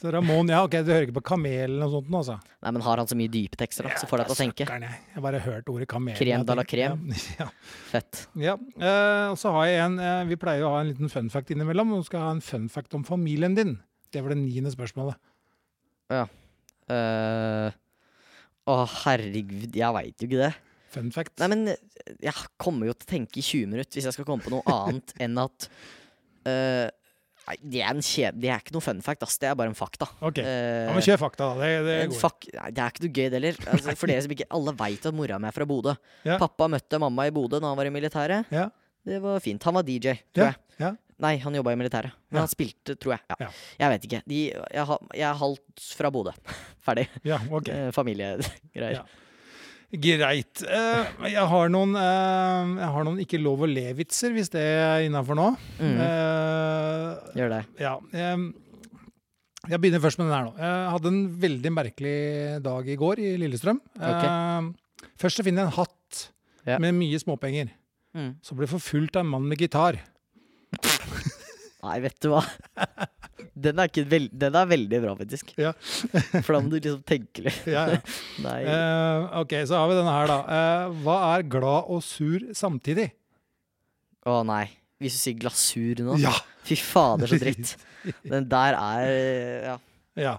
Så Ramón Ja, OK, du hører ikke på Kamelen og sånt nå, altså? Nei, men har han så mye dype tekster, da, så får deg til å tenke. Søkkeren, jeg. Jeg bare hørte ordet Kamelen. Krem Jeg de la tenkte- krem. Ja. *laughs* Fett. ja. Eh, og så har jeg en eh, Vi pleier å ha en liten fun fact innimellom. og Nå skal jeg ha en fun fact om familien din. Det var det niende spørsmålet. Eh, Å, herregud, jeg veit jo ikke det. Fun fact. Nei, men eh, jeg kommer jo til å tenke i 20 minutter hvis jeg skal komme på noe *laughs* annet enn at eh, Nei, det er, en kje, det er ikke noe fun fact, ass. Det er bare en fakta. OK. Eh, Ja, men kjør fakta, da. Det, det en går. fak nei, det er ikke noe gøy, det heller. Altså, for dere som ikke alle veit at mora mi er fra Bodø. Ja. Pappa møtte mamma i Bodø da han var i militæret. Ja. Det var fint. Han var DJ, tror Ja, jeg. ja. Nei, han jobba i militæret. Men Ja. han spilte, tror jeg. Ja. Ja. Jeg vet ikke. De, jeg, har- jeg er halvt fra Bodø. *laughs* Ferdig. ja, OK. Eh, Familiegreier. Ja. Greit. Eh, jeg, har noen, eh, jeg har noen ikke lov å le-vitser, hvis det er innafor nå. Mm. Eh, Gjør det. ja. em, jeg begynner først med den her nå. Jeg hadde en veldig merkelig dag i går i Lillestrøm. Eh, først så finner jeg en hatt Ja. med mye småpenger. Mm. Så blir jeg forfulgt av en mann *laughs* med gitar. Nei, vet du hva. *laughs* Den er, ikke vel- den er veldig bra, faktisk. Ja. *laughs* For da må du liksom tenke litt. Ja, ja. Nei. Eh, ok, så har vi denne her, da. Eh, hva er glad og sur samtidig? Å nei. Hvis du sier glasur nå. Ja! Fy fader, så *laughs* dritt. Den der er Ja. Ja.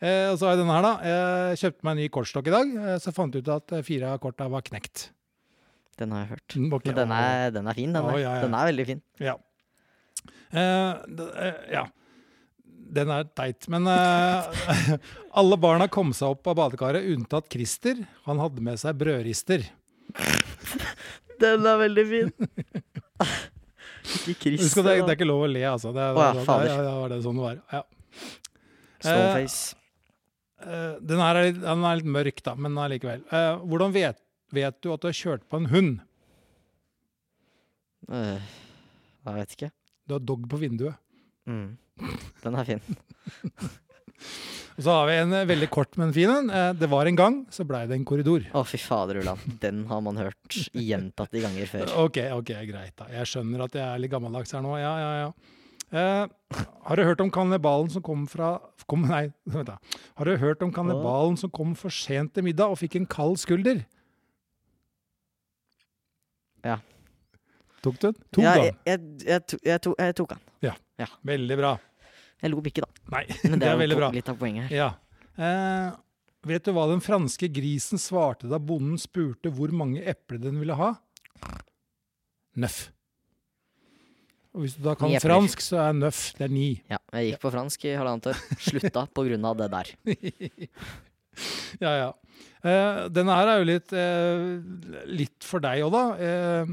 Eh, og så har jeg denne her, da. Jeg kjøpte meg en ny kortstokk i dag, eh, så fant jeg ut at eh, fire av korta var knekt. Den har jeg hørt. Den var ikke- Men den er, den er fin, den. Å, Er. ja, ja. Den er veldig fin. Ja. Eh, d- eh, ja. Den er teit, men eh, *laughs* alle barna kom seg opp av badekaret, unntatt Christer. Han hadde med seg brødrister. Den er veldig *laughs* fin. Ikke Husk Christer. at det, det da. er ikke lov å le, altså. Det, er- Å ja, det, fader. det, det var det sånn det var. Ja. Stoneface. Eh, den her er litt, den er litt mørk, da, men allikevel. Eh, hvordan vet, vet du at du har kjørt på en hund? Øh, jeg vet ikke. Du har dog på vinduet. Mm. Den er fin. Og så har vi en eh, veldig kort, men fin en. Eh, Det var en gang, så blei det en korridor. Å, fy fader, Ulland. Den har man hørt gjentatte ganger før. Ok, ok, greit da. Jeg skjønner at jeg er litt gammeldags her nå. Ja, ja, ja. Eh, har du hørt om kannibalen som kom fra kom, Nei, vent da. Har du hørt om kannibalen som kom for sent til middag og fikk en kald skulder? Ja. Tok du den? Tok ja, du jeg, den? jeg, jeg, to, jeg, to, jeg tok han. Veldig bra. Jeg lo *laughs* ikke, da. Nei, Men det er, jo veldig po- bra. litt av poenget her. Ja. Eh, vet du hva den franske grisen svarte da bonden spurte hvor mange epler den ville ha? Nøff. Og hvis du da kan Ni epler. fransk, så er nøff det er ni. Ja, jeg gikk på fransk i halvannet *laughs* år. Slutta på grunn av det der. Ja, ja. Eh, denne her er jo litt, eh, litt for deg òg, da. Eh,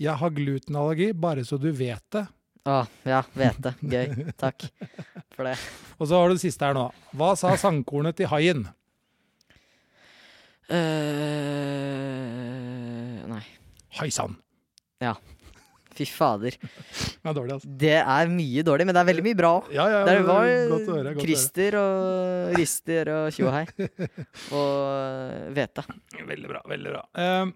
jeg har glutenallergi, bare så du vet det. Å, ja, vet det. Gøy. Takk for det. Og så har du det siste her nå. Hva sa sangkornet til haien? eh nei. Hei sann! Fy fader. Ja, dårlig, altså. Det er mye dårlig, men det er veldig mye bra òg. Ja, ja, Det men var godt å høre. Godt Christer og Rister og tjo og *laughs* hei. Og eh, Vete. Å høre. Veldig bra. Veldig bra. Eh,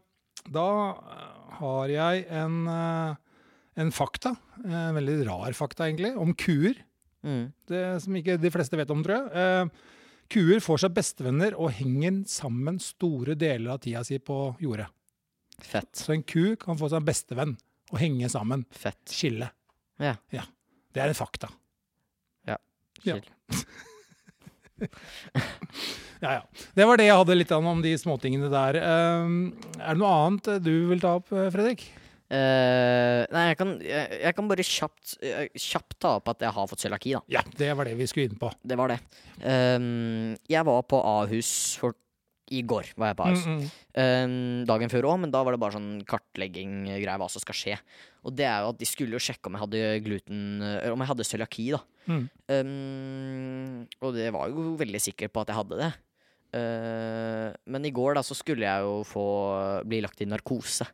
da eh, har jeg en, eh, en fakta, eh, en veldig rar fakta egentlig, om kuer. Mm. Det som ikke de fleste vet om, tror jeg. Eh, kuer får seg bestevenner og henger sammen store deler av tida si på jordet. Fett. Så en ku kan få seg en bestevenn og henge sammen. Fett. Skille. Ja. Det er en fakta. Ja. Chill. Ja, ja. Det var det jeg hadde litt an om de småtingene der. Eh, er det noe annet eh, du vil ta opp, eh, Fredrik? Eh, nei, jeg kan, jeg, jeg kan bare kjapt, eh, kjapt ta opp at jeg har fått cøliaki, da. Ja, det var det vi skulle inn på. Det var det. Ehm, jeg var på Ahus for i går. var jeg på Ahus. Mm, mm. Ehm, dagen før òg, men da var det bare sånn kartlegging-greier hva som skal skje. Og det er jo at de skulle jo sjekke om jeg hadde gluten eller Om jeg hadde cøliaki, da. Mm. Ehm, og det var jo veldig sikker på at jeg hadde det. Ehm, men i går da så skulle jeg jo få bli lagt i narkose.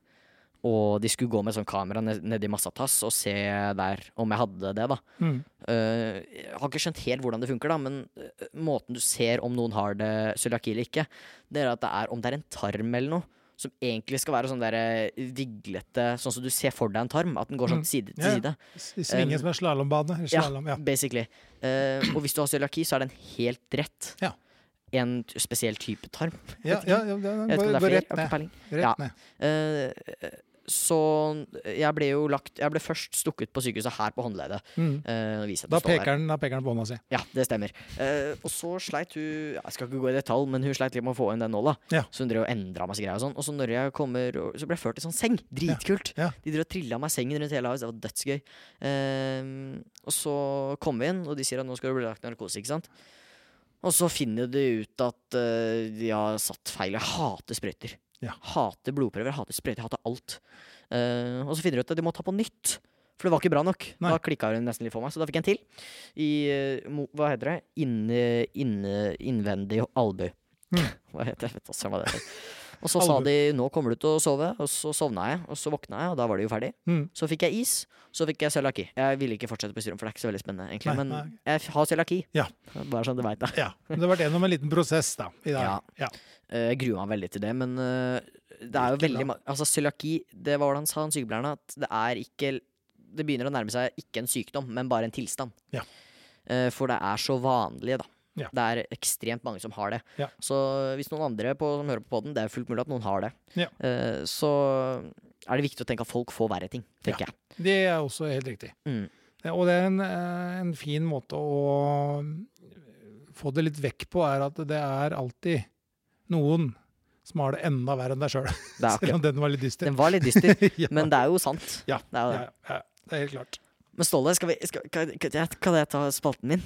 Og de skulle gå med sånn kamera ned- nedi Massatas og se der om jeg hadde det, da. Mm. Eh, jeg har ikke skjønt helt hvordan det funker, da, men eh, måten du ser om noen har det cøliaki eller ikke, det er at det er om det er en tarm eller noe. Som egentlig skal være sånn der eh, viglete, sånn som du ser for deg en tarm. At den går sånn Mm. side til Ja, ja. side. S- Svinge som en slalåmbane. eller ja. Slalom, ja. Basically. Eh, og hvis du har cøliaki, så er den helt rett. Ja. En t- spesiell type tarm. Ja, ja, ja, Jeg den vet ikke om går, det er går flere. rett Jeg har ikke peiling. ned. Rett Ja. ned. Eh, eh, så jeg ble jo lagt Jeg ble først stukket på sykehuset her på håndleddet. Mm. Eh, viser at Da det står der. peker den da peker den på hånda si. Ja, det stemmer. Eh, og så sleit hun Jeg skal ikke gå i detalj, men hun sleit litt med å få inn den nåla. Ja. Så hun drev og endra masse greier og sånn. Og så når jeg kommer og- Så ble jeg ført i sånn seng. Dritkult. Ja, ja. De drev og trilla meg i sengen rundt hele huset. Det var dødsgøy. Eh, og så kom vi inn, og de sier at nå skal du bli lagt i narkose, ikke sant. Og så finner de ut at eh, de har satt feil. Jeg hater sprøyter. Ja. Hater blodprøver, hater sprøyter, hater alt. Eh, og så finner de ut at de må ta på nytt. For det var ikke bra nok. Nei. Da klikka hun nesten litt for meg, så da fikk jeg en til. I eh, mo, Hva heter det? Inne, inne, innvendig albu. Mm. *laughs* Hva heter det? Jeg Vet også hva det heter. Og så sa Albu. de 'nå kommer du til å sove', og så sovna jeg. Og så våkna jeg, og da var det jo ferdig. Mm. Så fikk jeg is, så fikk jeg cøliaki. Jeg ville ikke fortsette på styret, for det er ikke så veldig spennende, egentlig. Nei, men nei. jeg f- har cøliaki. Ja. Bare sånn du veit det. ja. Men Det har vært gjennom en liten prosess, da. I dag. Ja. Ja. Eh, Jeg gruer meg veldig til det, men eh, det er jo Ikke veldig bra. ma- Altså, cøliaki, det var hvordan sa han sykepleieren, at det er ikke Det begynner å nærme seg ikke en sykdom, men bare en tilstand. Ja. Eh, For det er så vanlig, da. Ja. Det er ekstremt mange som har det. Ja. Så hvis noen andre på, som hører på podden, det er jo fullt mulig at noen har det, Ja. eh, så er det viktig å tenke at folk får verre ting, tenker jeg. Det er også helt riktig. Mm. Ja, og det er en, eh, en fin måte å eh, få det litt vekk på, er at det er alltid noen som har det enda verre enn deg sjøl. Det er Selv *laughs* om akkurat. den var litt dyster. Den var litt dyster, *laughs* ja. men det er jo sant. Ja, Det er jo ja, det. ja, det er helt klart. Men Ståle, skal vi, skal, kan, kan jeg- kan jeg ta spalten min?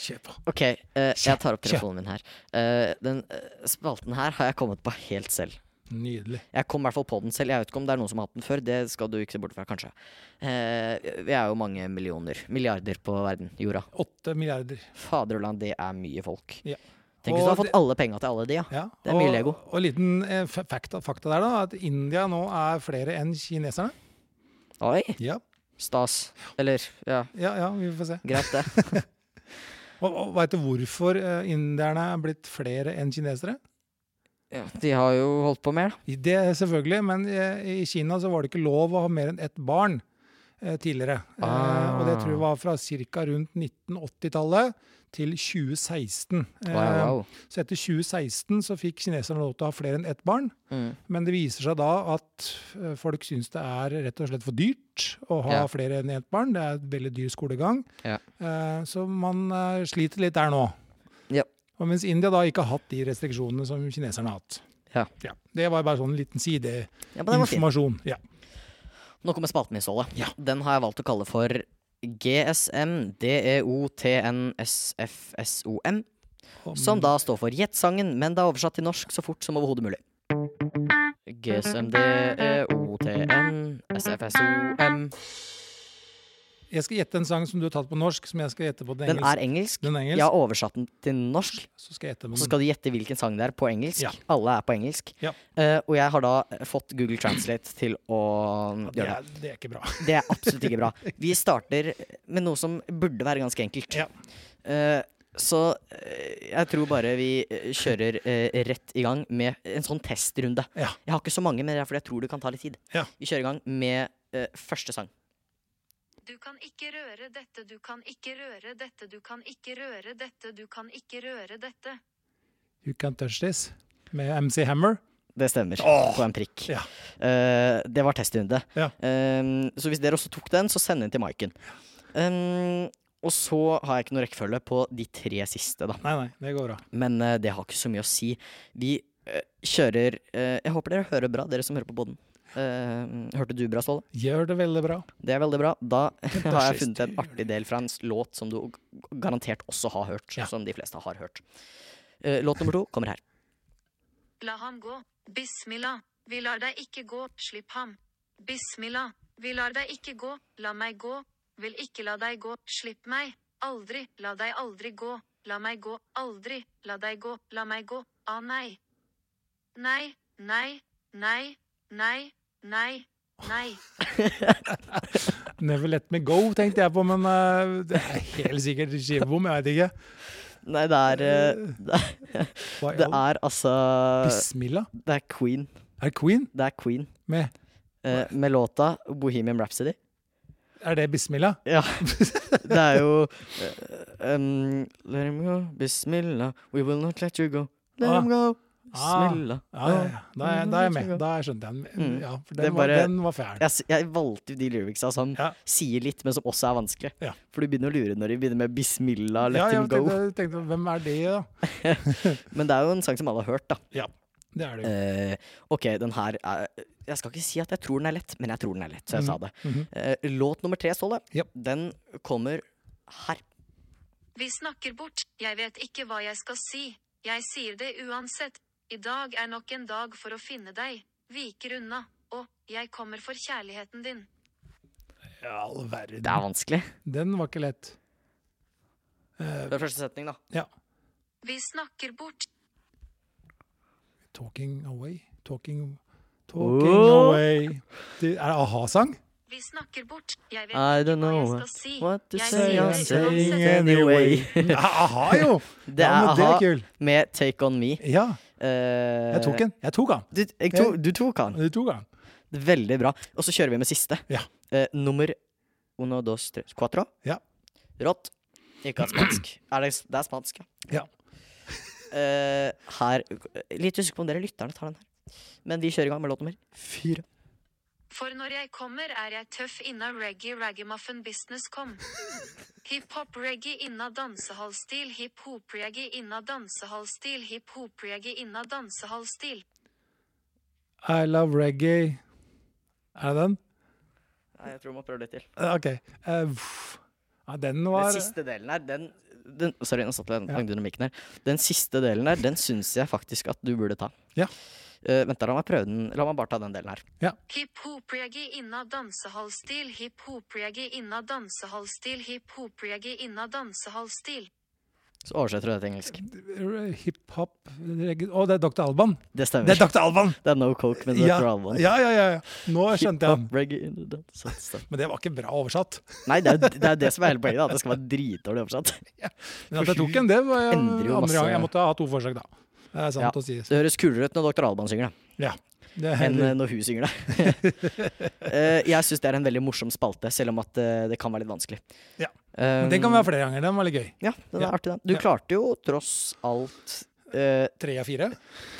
Kjør på. Ok, eh, jeg tar opp Kjør. telefonen min her. Eh, den eh, spalten her har jeg kommet på helt selv. Nydelig. Jeg kom i hvert fall på den selv. Jeg vet ikke om det er noen som har hatt den før. Det skal du ikke se bort fra, kanskje. Eh, vi er jo mange millioner, milliarder på verden, jorda. Åtte milliarder. Faderland, det er mye folk. Ja. Tenk hvis du Og har fått det- alle penga til alle de, ja. Ja. Det er mye Lego. Og, og liten eh, fa- fakta, fakta der, da, at India nå er flere enn kineserne. Oi, Ja, stas. Eller, ja, ja, ja vi får se. greit *laughs* det. Og, og veit du hvorfor eh, indierne er blitt flere enn kinesere? Ja, de har jo holdt på mer, da. Det er selvfølgelig, men eh, i Kina så var det ikke lov å ha mer enn ett barn eh, tidligere. Eh, Ah. Og det tror jeg var fra ca. rundt 1980-tallet til 2016. Eh, Wow, wow. Så etter 2016 så fikk kineserne lov til å ha flere enn ett barn. Mm. Men det viser seg da at eh, folk syns det er rett og slett for dyrt å ha Ja. flere enn ett barn. Det er et veldig dyr skolegang. Ja. Eh, Så man eh, sliter litt der nå. Ja. Og mens India da ikke har hatt de restriksjonene som kineserne har hatt. Ja. Det var bare sånn liten side Ja, men den var fin. informasjon. Ja. Nå kommer spalteninnholdet. Ja. Den har jeg valgt å kalle for GSM DEOTNSFSOM. Som da står for Gjett sangen, men det er oversatt til norsk så fort som overhodet mulig. E GSMDEOTNSFSOM. Jeg skal gjette en sang som du har tatt på norsk, som jeg skal gjette på den Den engelsk. er engelsk. Den er engelsk. Jeg har oversatt den til norsk. Så skal jeg gjette Og med så den. skal du gjette hvilken sang det er på engelsk. Ja. Alle er på engelsk. Ja. Eh, og jeg har da fått Google Translate til å Det gjøre det. er, det er ikke bra. *laughs* Det er absolutt ikke bra. Vi starter med noe som burde være ganske enkelt. Ja. Eh, så eh, jeg tror bare vi eh, kjører eh, rett i gang med en sånn testrunde. Ja. Jeg har ikke så mange, men det er fordi jeg tror det kan ta litt tid. Ja. Vi kjører i gang med eh, første sang. Du kan ikke røre dette, du kan ikke røre dette, du kan ikke røre dette, du kan ikke røre dette. You Can't Touch This med MC Hammer. Det stemmer. Åh! På en prikk. Ja. Eh, det var testrunde. Ja. Eh, så hvis dere også tok den, så send den til Maiken. Eh, og så har jeg ikke noe rekkefølge på de tre siste, da. Nei, nei, det går bra. Men eh, det har ikke så mye å si. Vi eh, kjører eh, Jeg håper dere hører bra, dere som hører på podden. Eh, hørte du bra, Ståle? Gjør det veldig bra. Det er veldig bra. Da *laughs* har jeg funnet en artig del fra en s- låt som du g- garantert også har hørt. Ja. Som de fleste har hørt. Eh, låt nummer to kommer her. La ham gå. Bismillah. Vi lar deg ikke gå. Slipp ham. Bismillah. Vi lar deg ikke gå. La meg gå. Vil ikke la deg gå. Slipp meg. Aldri. La deg aldri gå. La meg gå. Aldri. La deg gå. La meg gå. Å nei. Nei. Nei. Nei. Nei. Nei. Nei. Never Let Me Go tenkte jeg på, men eh, det er helt sikkert skivebom. Jeg vet ikke. Nei, det er *laughs* eh, det, Hva i det all- er altså Bismillah? Det er Queen. Er det Queen Det er Queen. med eh, med låta Bohemian Rhapsody. Er det Bismillah? Ja. Det er jo eh, um, Let him go, bismillah, we will not let you go. Let Ah. him go, Ah. bismillah. Ja, ja, ja. Da, er, da er jeg med. Da skjønte jeg den. Mm. Ja, for Det er den var, bare- den var fæl. Jeg, s- jeg valgte jo de lyricsa som Ja. sier litt, men som også er vanskelig. Ja. For du begynner å lure når de begynner med 'bismillah, let Ja, jeg him go'. tenkte, tenkte, hvem er det, da? Men det er jo en sang som alle har hørt, da. Det er det jo. Eh, ok, den her er Jeg skal ikke si at jeg tror den er lett, men jeg tror den er lett, så jeg sa det. Mhm. Eh, låt nummer tre, Ståle, Japp. den kommer her. Vi snakker bort, jeg vet ikke hva jeg skal si. Jeg sier det uansett. I dag er nok en dag for å finne deg. Viker unna. Og jeg kommer for kjærligheten din. Ja, all verden. Det er vanskelig. Den var ikke lett. Eh. Det er første setning, da. Ja. Vi snakker bort. Talking Away. Talking, talking Åh! Away. Det, er det a-ha-sang? Vi snakker bort. Jeg vet I ikke don't hva jeg know skal si. what to Jeg say, sier I'm det saying uansett. anyway. Ja, a-ha, jo! Det ja, er men det a-ha er kul. med Take On Me. Ja, Eh, jeg tok den. Jeg tok den. Du, jeg tok, du tok han. Du tok den. Veldig bra. Og så kjører vi med siste. Ja. Eh, nummer uno, dos, tres, cuatro. Ja. Rått. Ikke at *clears throat* spansk. Er det, det er spansk, Ja. Eh, her Litt usikker på om dere lytterne tar den her. Men vi kjører i gang med låt nummer fire. For når jeg kommer, er jeg tøff inna reggae ragamuffin business kom. Hiphop-reggae inna dansehallstil, hiphop-reggae inna dansehallstil, hiphop-reggae inna dansehallstil. I love reggae. Er det den? Nei, jeg tror vi må prøve litt til. Eh, OK. Eh, pff. ja, den Den var siste delen her, den, den Sorry, nå satt jeg langt under mikken her. Den siste delen her, den syns jeg faktisk at du burde ta. Ja. Eh, vent, da, la meg prøve den. La meg bare ta den delen her. Hiphop-reggae inna dansehallstil, hiphop-reggae inna dansehallstil, hiphop-reggae inna dansehallstil. Så oversetter du det til engelsk. hiphop reggae Å, det er Dr. Alban! Det Det stemmer. er Dr. Alban! Det er no coke, men det Ja, er Alban. ja, ja, ja. ja. Nå skjønte jeg den. Hiphop, reggae, in the dance, and stuff. Men det var ikke bra oversatt. Nei, det er, jo- det er jo det som er hele poenget. Da. at Det skal være dritdårlig oversatt. Men at jeg tok en, det var jeg, Endrer jo andre masse- gang. Jeg måtte ha to forsøk, da. Det er sant Ja. å si. Det høres kulere ut når Dr. Alban synger det, Ja. Det er, enn eh, når hun synger det. *laughs* Eh, Jeg syns det er en veldig morsom spalte, selv om at eh, det kan være litt vanskelig. Ja. Um, men den kan være flere ganger. Den var litt gøy. Ja, den er Ja. artig, den. Du Ja. klarte jo tross alt eh, Tre av fire?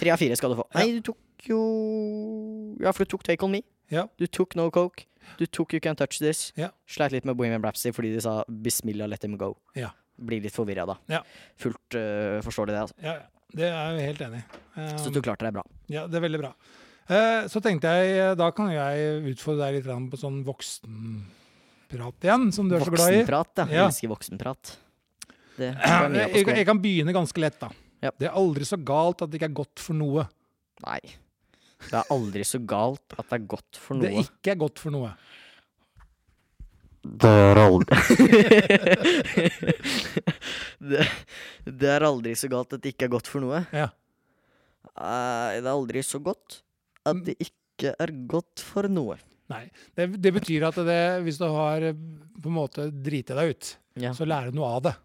Tre av fire skal du få. Ja. Nei, du tok jo Ja, for du tok Take On Me. Ja. Du tok No Coke. Du tok You Can't Touch This. Ja. Sleit litt med Bohemian Rhapsody fordi de sa Bismillah, let them go. Ja. Blir litt forvirra da. Ja. Fullt uh, forståelig, det. altså. Ja, ja. det er jeg helt enig i. Så Um, du klarte deg bra. ja, det er veldig bra. Eh, Så tenkte jeg, eh, da kan jeg utfordre deg litt grann på sånn voksenprat igjen, som du er så glad i. Voksenprat, ja. Jeg Ja. elsker voksenprat. *clears throat* Det var mye av på Jeg, kan- skolen. jeg kan begynne ganske lett, da. Ja. Det er aldri så galt at det ikke er godt for noe. Nei. Det er aldri så galt at det er godt for Det noe. ikke er godt for noe. Det er aldri det, det er aldri så galt at det ikke er godt for noe. Ja. Nei, det er aldri så godt at det ikke er godt for noe. Nei. Det, det betyr at det, hvis du har eh, på en måte driti deg ut, Ja. så lærer du noe av det.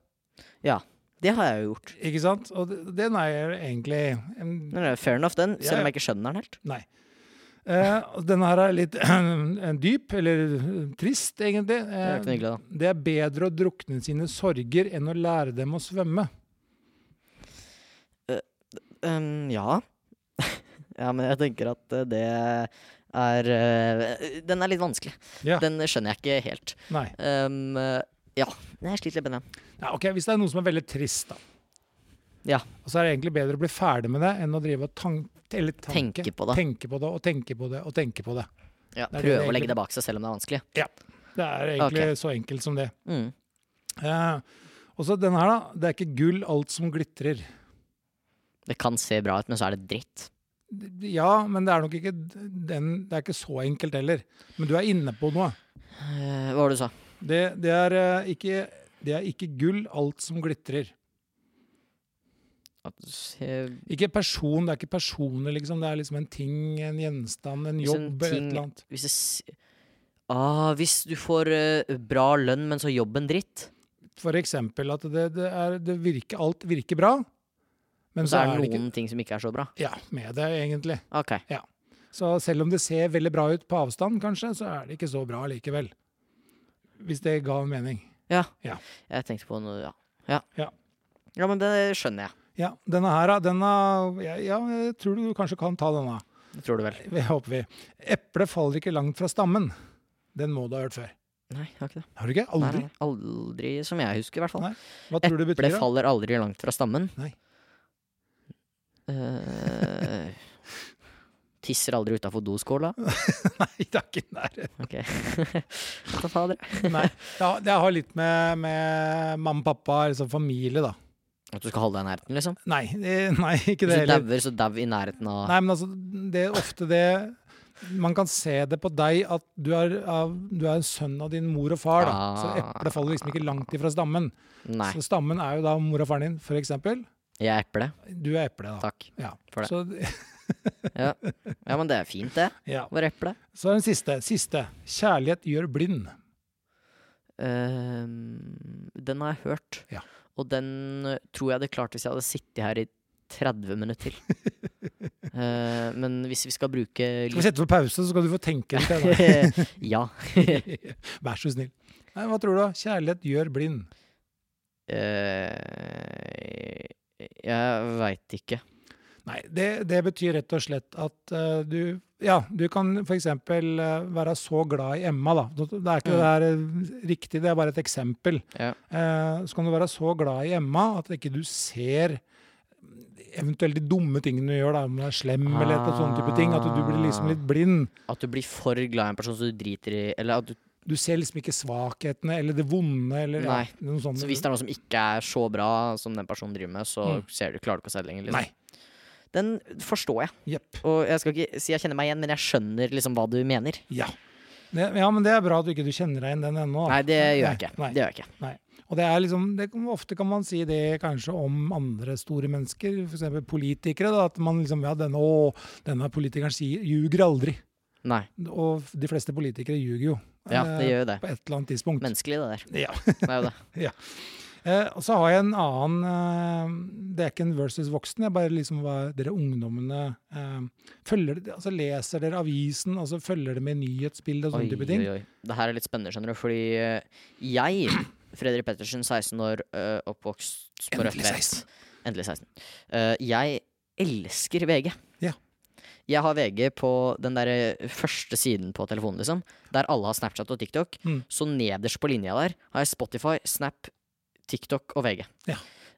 Det har jeg jo gjort. Ikke sant? Og det- den er jeg egentlig en- Nei, nei, Fair enough, den. Ja, Selv om ja. jeg ikke skjønner den helt. Nei. Eh, og denne her er litt *clears throat* en dyp, eller eh, trist, egentlig. Det Eh, er ikke noe hyggelig, da. det er bedre å drukne sine sorger enn å lære dem å svømme. Ehm, ja. *laughs* ja, men jeg tenker at eh, det er eh, Den er litt vanskelig. Ja. Den skjønner jeg ikke helt. Nei. Ehm, eh, ja, jeg sliter litt med den. Ja, ok, Hvis det er noe som er veldig trist, da. Ja. Og så er det egentlig bedre å bli ferdig med det enn å drive og tank, eller tanke, Tenke på det. tenke på det og tenke på det og tenke på det. Ja, det er prøve det å legge egentlig- det bak seg selv om det er vanskelig. Det er egentlig så enkelt som det. Mm. Eh, og så denne her, da. Det er ikke gull alt som glitrer. Det kan se bra ut, men så er det dritt. Ja, men det er nok ikke den Det er ikke så enkelt heller. Men du er inne på noe. Eh, hva var det du sa? Det, det, er, eh, ikke, det er ikke gull alt som glitrer. At, se- Ikke person, det er ikke personer, liksom. Det er liksom en ting, en gjenstand, en Hvis en jobb, et Liksom ting- eller annet. hvis, det s- ah, hvis du får eh, bra lønn, men så er jobben dritt, For eksempel at det, det er, det virker, alt virker bra, men så er det ikke noen ting som ikke er så bra. ja, med det, egentlig. Ok, Så selv om det ser veldig bra ut på avstand, kanskje, så er det ikke så bra likevel. Hvis det ga mening. jeg tenkte på noe, ja. Ja, Ja. ja men det skjønner jeg. Ja, denne her, da, denne ja, ja, jeg tror du kanskje kan ta denne. Det tror du vel. Det håper vi. Eplet faller ikke langt fra stammen. Den må du ha hørt før. Nei, jeg har ikke det. Har du ikke? Aldri? Nei, aldri som jeg husker, i hvert fall. Nei, Hva tror du det Eple betyr? da? faller aldri langt fra stammen. Nei. Eh, tisser aldri utafor doskåla. *laughs* Nei, det er ikke i nærheten. Ok. Ta *laughs* fader. *laughs* Nei, det har- det har litt med, med mamma og pappa, liksom familie, da. At du skal holde deg i nærheten, liksom? Nei, eh, nei ikke Hvis det du heller. dauer, så dau i nærheten av Nei, men altså, det er ofte det Man kan se det på deg at du er, av, du er en sønn av din mor og far. Da. Så Ah. eplet faller liksom ikke langt ifra stammen. Nei. Så stammen er jo da mor og faren din, for eksempel. Jeg er eple. Du er eplet, da. Takk Ja. for det. Så, Ja. ja, men det er fint, det. ja. Vår eple. så er den siste. Siste. Kjærlighet gjør blind. Ehm, den har jeg hørt. Ja. Og den eh, tror jeg hadde klart hvis jeg hadde sittet her i 30 minutter *laughs* til. Eh, men hvis vi skal bruke Skal vi sette på pause, så skal du få tenke litt? *laughs* da. litt Ja. Vær så snill. Nei, hva tror du? da? Kjærlighet gjør blind. Eh, jeg veit ikke. Nei, det, det betyr rett og slett at eh, du Ja, du kan f.eks. Uh, være så glad i Emma, da. Det det Mm. er ikke det her eh, riktig, det er bare et eksempel. Ja. Eh, så kan du være så glad i Emma at ikke du ser eventuelt de dumme tingene du gjør, da, om du er slem eller et sånne type ting. At du blir liksom litt blind. At du blir for glad i en person så du driter i Eller at du, Du ser liksom ikke svakhetene eller det vonde eller Nei. Ja, noe sånt. så hvis det er noe som ikke er så bra som den personen driver med, så Mm. ser du, klarer du ikke å se det lenger. Liksom. Nei. Den forstår jeg. Jepp. Og jeg skal ikke si jeg kjenner meg igjen, men jeg skjønner liksom hva du mener. Ja. Det, ja, men det er bra at du ikke du kjenner deg igjen den ennå. da. Nei, det gjør jeg ikke. Nei. Det gjør jeg ikke. Og det er liksom, det, kan- Ofte kan man si det kanskje om andre store mennesker, f.eks. politikere. da, At man liksom, ja, denne, å, denne politikeren sier, ljuger aldri. Nei. Og de fleste politikere ljuger jo. Ja, eh, det gjør jo det. På et eller annet tidspunkt. Menneskelig, det der. Ja. Det er jo det. Eh, og så har jeg en annen eh, Det er ikke en versus voksen. Jeg bare liksom hva dere ungdommene eh, følger, altså Leser dere avisen, og så følger det med nyhetsbildet og sånne Sånn type ting? oi. Det her er litt spennende, skjønner du, fordi eh, jeg, Fredrik Pettersen, 16 år, eh, oppvokst på Rødt Endelig Vest. 16. Endelig 16. Eh, jeg elsker VG. Ja. Jeg har VG på den der øh, første siden på telefonen, liksom. Der alle har Snapchat og TikTok. Mm. Så nederst på linja der har jeg Spotify, Snap, TikTok og Øh, VG. Ja.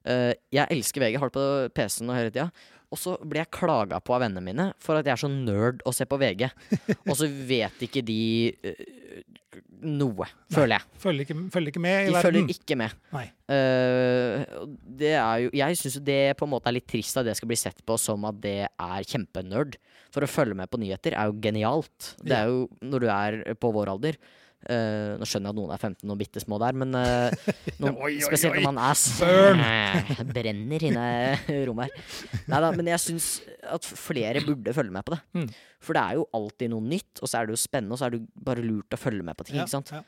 Eh, jeg elsker VG, har det på PC-en og hele tida. Og så blir jeg klaga på av vennene mine for at jeg er så nerd å se på *laughs* VG. Og så vet ikke de eh, noe, føler jeg. Følger ikke, følger ikke med i De verden. følger ikke med. Nei. Eh, og det er jo, jeg syns jo det på en måte er litt trist at det skal bli sett på som at det er kjempenerd. For å følge med på nyheter er jo genialt. Det er jo når du er på vår alder. eh, nå skjønner jeg at noen er 15 og bitte små der, men *laughs* eh, noen, Oi, oi, spesielt oi. når man er s- Burn! Eh, *laughs* Brenner inne i rommet her. Nei da, men jeg syns at flere burde følge med på det. Mm. For det er jo alltid noe nytt, og så er det jo spennende, og så er det jo bare lurt å følge med på ting. Ja, ikke sant? ja.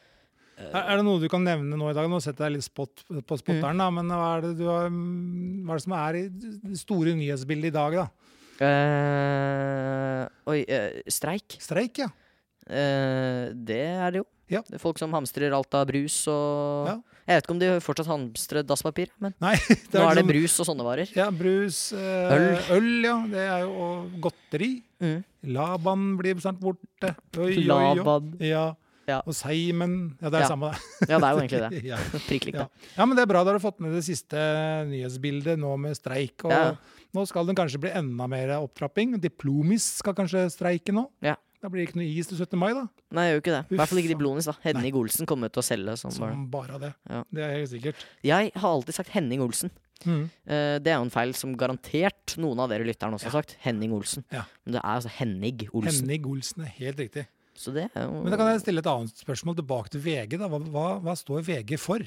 Er er det noe du kan nevne nå i dag? Nå setter jeg litt spot Mm. på spotteren, da, men hva er, det du har, mm, hva er det som er i det store nyhetsbildet i dag, da? Eh, oi, eh, streik. Streik, ja. *laughs* Eh, det er det jo. Ja. Det er folk som hamstrer alt av brus og Ja. Jeg vet ikke om de fortsatt hamstrer dasspapir, men Nei, nå er det liksom- brus og sånne varer. Ja, brus, eh, Øl. øl, ja. Det er jo og godteri. Mm. Laban blir snart borte. Oi, oi, oi. Laban. Ja. Ja. Og Seimen. Ja, det er Ja. samme, Ja, det er jo egentlig det. det. *laughs* ja. Prikk likt, Ja. det. ja, men det er bra da har du fått med det siste nyhetsbildet nå med streik. Og Ja. nå skal den kanskje bli enda mer opptrapping. Diplomis skal kanskje streike nå. Ja. Da blir det ikke noe is til 17. mai, da. Nei, jeg gjør ikke det. I hvert fall ikke Uff, de blonis, da. Henning Olsen kommer til å selge. Som bare. Som bare det. Ja. Det er helt sikkert. Jeg har alltid sagt Henning Olsen. Mm. Eh, det er jo en feil som garantert noen av dere lytterne også har sagt. Henning Olsen. Ja. Men det er altså Henning Olsen. Henning Olsen Mm. er helt riktig. Så det er jo Men da kan jeg stille et annet spørsmål tilbake til VG. da. Hva, hva, hva står VG for?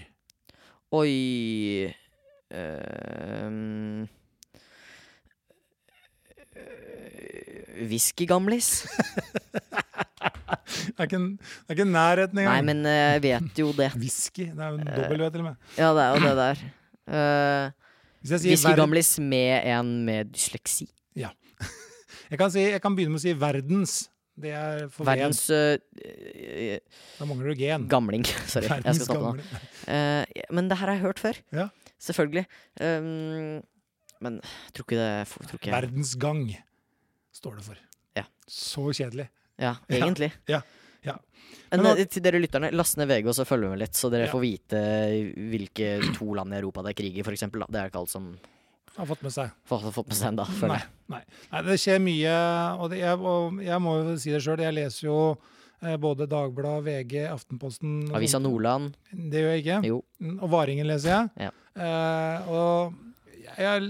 *laughs* Oi Ehm. Øh, Whisky, *laughs* gamlis? Det er ikke, en- det er ikke en nærheten Nei, engang. men eh, jeg vet jo det. Whisky. Det er jo en dobbel V til og med. Ja, det er jo det der. Eh, Hvis jeg sier whisky, ver- gamlis med en med dysleksi. jeg, kan si, jeg kan begynne med å si verdens. Det er for Verdens. Verdens øh, øh, Da mangler du gen. gamling. *laughs* Sorry. Jeg skal stoppe nå. gamle. Eh, men det her har jeg hørt før. Ja. Selvfølgelig. Ehm, men jeg tror ikke det tror ikke jeg. Verdensgang står det for. Ja. Så kjedelig. Ja, Ja, egentlig. ja, ja. Men, Men eh, til dere lytterne, last ned VG og så følger vi med litt, så dere Ja. får vite hvilke to land i Europa det er krig i, for eksempel. Da. Det er ikke alle som Har fått med seg. får, har fått med seg ennå, Nei, føler jeg. nei. nei, det skjer mye. Og, det, jeg, og jeg må jo si det sjøl, jeg leser jo eh, både Dagbladet, VG, Aftenposten og Avisa sånt. Nordland. Det gjør jeg ikke. Jo. Mm, Og Varingen leser jeg. Ja. Eh, og jeg, jeg,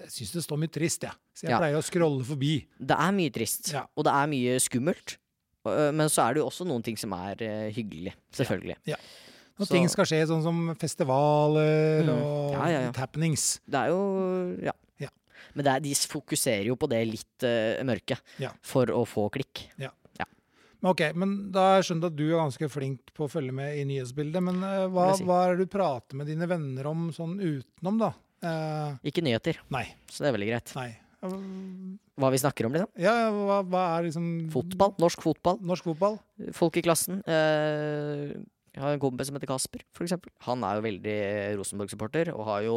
jeg syns det står mye trist, jeg. Så jeg Ja. pleier å scrolle forbi. Det er mye trist, Ja. og det er mye skummelt. Og, eh, Men så er det jo også noen ting som er eh, hyggelig. Selvfølgelig. Når Så- ting skal skje, sånn som festivaler Mm. og Ja, ja, ja. happenings. Det er jo Ja. Ja. Men det er, de fokuserer jo på det litt eh, mørke Ja. for å få klikk. Men Ok, men da har jeg skjønt at du er ganske flink på å følge med i nyhetsbildet. Men eh, hva, Vil jeg si. hva er det du prater med dine venner om sånn utenom, da? Eh, Ikke nyheter, nei. så det er veldig greit. Nei. Eh, Hva vi snakker om, liksom. Ja, hva, hva er liksom Fotball. Norsk fotball. Norsk fotball? folk i klassen. Eh, jeg har en kompis som heter Kasper, for eksempel. Han er jo veldig Rosenborg-supporter, og har jo,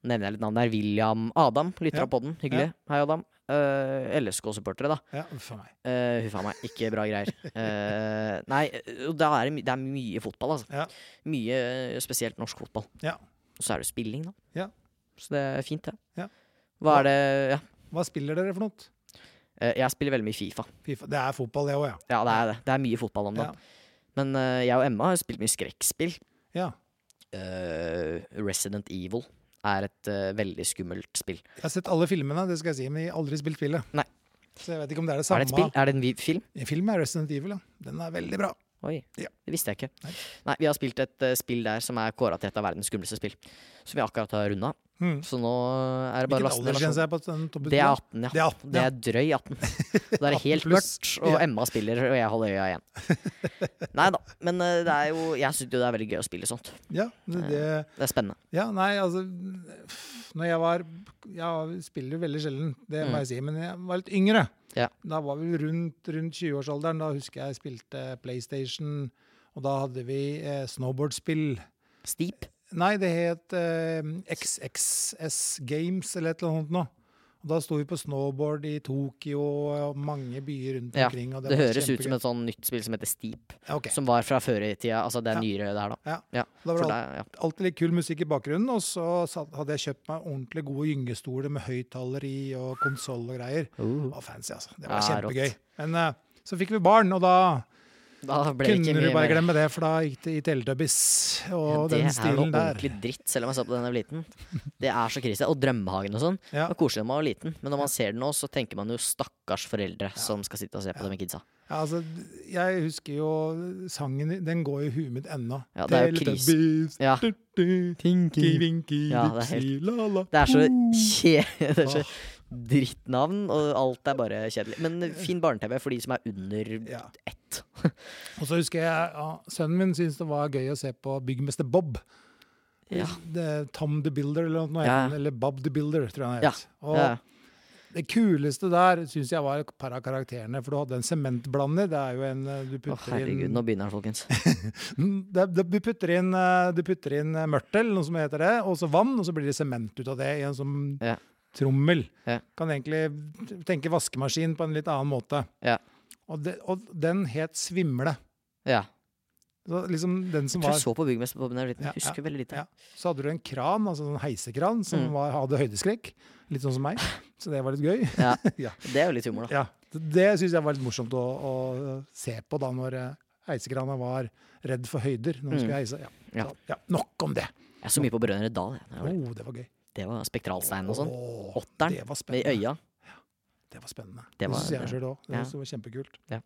nå nevner jeg litt navn der, William Adam, lytter Ja. av podden. Hyggelig. Hei, Adam. Eh, LSK-supportere, da. Ja, uff a meg. Eh, Huff a meg, ikke bra greier. Eh, nei, og da er det, my- det er mye fotball, altså. Ja. Mye eh, spesielt norsk fotball. Ja. Og så er det spilling, da. Ja. Så det er fint, det. Ja. Hva er det Ja. Hva spiller dere for noe? Eh, jeg spiller veldig mye Fifa. FIFA. Det er fotball, det òg, ja. Ja, det er det. Det er mye fotball om dagen. Men eh, jeg og Emma har jo spilt mye skrekkspill. ja. eh, Resident Evil er et eh, veldig skummelt spill. Jeg har sett alle filmene, det skal jeg si, men jeg har aldri spilt spillet. Nei. Så jeg vet ikke om det er det Er det et spill? samme. Er det en vi- film? Filmen er Resident Evil, ja. Den er veldig bra. Oi, Ja. det visste jeg ikke. Nei. Nei, Vi har spilt et eh, spill der som er kåra til et av verdens skumleste spill. Som vi akkurat har runda. Mm. Så nå er det bare å Hvilken laste ned. aldersgrense versjonen. er på den? Tobbe? Det er 18, ja. Det er 18, Det ja. er drøy 18. *laughs* Og Da er det 18 helt pluss. mørkt, og Ja. Emma spiller, og jeg holder øya igjen. *laughs* Nei da, men eh, det er jo Jeg syns jo det er veldig gøy å spille sånt. Ja, det, det, Det er spennende. Ja, nei, altså Når jeg var Jeg spiller jo veldig sjelden, det må jeg si, men jeg var litt yngre. Mm. Ja. Da var vi rundt, rundt 20-årsalderen. Da husker jeg jeg spilte PlayStation, og da hadde vi eh, snowboardspill. Steep. Nei, det het eh, XXS Games eller et eller annet nå. Og da sto vi på snowboard i Tokyo og mange byer rundt Ja, omkring. og Det var høres ut som kjempegøy. et sånn nytt spill som heter Steep, Ja, ok. som var fra før i tida. Altså, det er Ja. nyere der, da. Ja. Ja, Da var for det det, ja. alltid litt kul musikk i bakgrunnen, og så satt, hadde jeg kjøpt meg ordentlig gode gyngestoler med høyttaleri og konsoll og greier. Det var fancy, altså. Det var Uh. Ja, rått. kjempegøy. Men eh, så fikk vi barn, og da Da ble det ikke kunne du mye bare mer. glemme det, for da gikk det i Teletubbies Ja, og det den er noe stilen der. ordentlig dritt, selv om jeg så på den da jeg var liten. Det er så krise. Og Drømmehagen og sånn. *laughs* Ja. Det var koselig da man var liten, men når man ser det nå, så tenker man jo stakkars foreldre som skal sitte og se på det med kidsa. Ja, altså, jeg husker jo sangen Den går i huet mitt ennå. Ja, det er jo kris. Ja. Ja, det er helt- Det er så kje... *laughs* Det er så Ah. drittnavn, og alt er bare kjedelig. Men fin barne-TV for de som er under Ja. ett. Og så husker jeg ja, sønnen min syntes det var gøy å se på Byggmester Bob. Ja. Det- Tom the Builder, eller noe Ja. annet. Eller Bob the Builder, tror jeg han Ja, het. Og ja. det kuleste der syns jeg var et par av karakterene, for du hadde en sementblander. Det er jo en eh, du Å, putter herregud, inn nå begynner han, folkens. Mm, det- det- Du putter inn, eh, du putter inn eh, mørtel, noe som heter det, og så vann, og så blir det sement ut av det i en sånn Ja. trommel. Ja. Kan egentlig tenke vaskemaskin på en litt annen måte. Ja. Og, det, og den het Svimle. Ja. Så liksom den som Jeg tror var jeg så på Byggmester Bob da jeg var Ja, liten. Husker veldig lite. ja. Så hadde du en kran, altså en heisekran, som Mm. var, hadde høydeskrekk. Litt sånn som meg. Så det var litt gøy. Ja. Ja. Det er jo litt humor, da. Ja, det syns jeg var litt morsomt å, å se på da når eh, heisekrana var redd for høyder. Når Mm. hun skulle heise. Ja. Ja. Så, ja, nok om det. Jeg er så mye på Brødrene Dal. jeg, da jeg var liten. Oh, det var gøy. Det var Spektralsteinen og sånn. Åh, Åtteren, det var Med spennende. øya. Det var spennende. Det Det, var- syns jeg det- sjøl òg. Det, ja. synes det var kjempekult. Ja.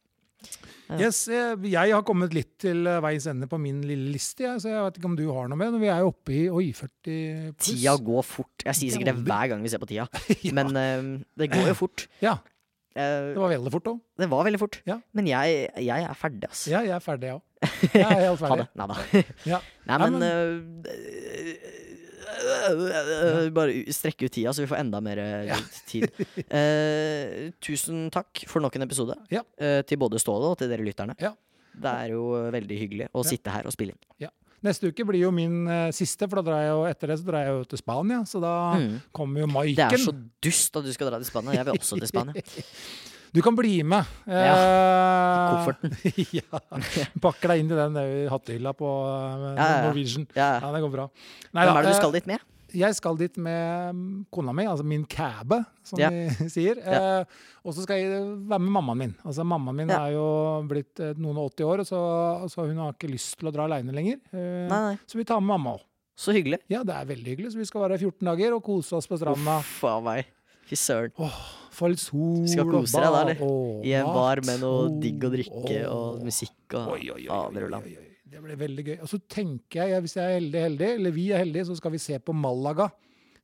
Ja. Yes, eh, jeg har kommet litt til eh, veis ende på min lille liste, jeg, så jeg vet ikke om du har noe med. Vi er jo oppe i oi, 40 pluss. Tida går fort. Jeg sier sikkert det Veldig. hver gang vi ser på tida, *laughs* Ja. men eh, det går jo fort. Ja, Eh, det var veldig fort òg. det var veldig fort. Ja. Men jeg, jeg er ferdig, ass. Ja, jeg er ferdig, jeg òg. Jeg er helt Ha det. ferdig. Nei da. Ja. *laughs* Nei, Nei, men eh, eh, *laughs* Bare u- strekke ut tida, så vi får enda mer eh, *laughs* tid. Eh, tusen takk for nok en episode. Ja. Eh, til både Ståle og til dere lytterne. Ja. Det er jo eh, veldig hyggelig å Ja. sitte her og spille inn. Neste uke blir jo min eh, siste, for da drar jeg jo etter det så drar jeg jo til Spania. Så da Mm. kommer jo Det er Maiken. så dust at du skal dra til Spania. Jeg vil også til *laughs* Spania. Du kan bli med. i kofferten. *laughs* ja. Pakker deg inn i den der hattehylla på Ja, eh, ja, ja. Norwegian. Ja. Ja, det går bra. Nei, Hvem da, er det du eh, skal dit med? Jeg skal dit med mm, kona mi, altså min kæbe, som Ja. vi *laughs* sier. Eh, og så skal jeg være med mammaen min. Altså Mammaen min Ja. er jo blitt eh, noen og 80 år, og så, så hun har ikke lyst til å dra aleine lenger. Eh, Nei, nei. Så vi tar med mamma òg. Så hyggelig. Ja, det er veldig hyggelig. Så vi skal være 14 dager og kose oss på stranda. Uff a meg. Fy søren. Få litt sol Skal og kose deg da, eller? og I en mat. bar med noe Oh, digg å drikke oh. og musikk og Oi, oi, oi, oi, fader oi, ulland. oi, oi. Det blir veldig gøy. Og så tenker jeg, ja, hvis jeg er heldig, heldig, eller vi er heldige, så skal vi se på Malaga.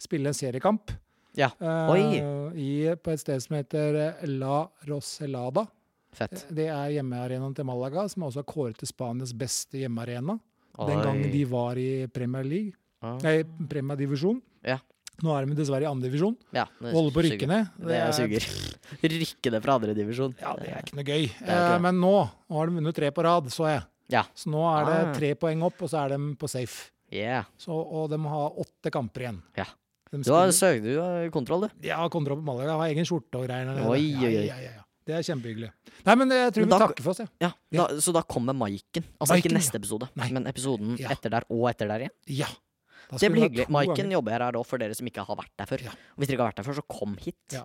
Spille en seriekamp. Ja. eh, Oi. i, på et sted som heter eh, La Roselada. Fett. Det er hjemmearenaen til Malaga, som også er kåret til Spanias beste hjemmearena. Den Oi. gangen de var i Premier League, Ah. nei, Premier Divisjon. Ja. Nå er de dessverre i andre divisjon. Ja, det Og holder på å rykke suger. ned. Det er- suger. *laughs* Rykke ned fra andre divisjon. Ja, det er ikke noe gøy. er jo ikke Eh, det. Men nå, nå har de vunnet tre på rad, så jeg. Ja. Så nå er det Ah. tre poeng opp, og så er de på safe. Yeah. Så, og de har åtte kamper igjen. Ja. De Du har spiller- søkt, du har kontroll, du. ja, kontra på Malaga. Har egen skjorte og greier. der nede. Oi, oi, oi. Ja, ja, ja, ja. Det er kjempehyggelig. Nei, men jeg tror Men da- vi takker for oss, jeg. Ja, Ja. Da, så da kommer Maiken. Altså Maiken, ikke neste episode, Nei. men episoden Ja. etter der og etter der igjen. Ja. Da Det blir skulle vi ha hyggelig. to Maiken ganger. jobber her da for dere som ikke har vært der før. Ja. Og hvis dere ikke har vært der før, så kom hit. Ja.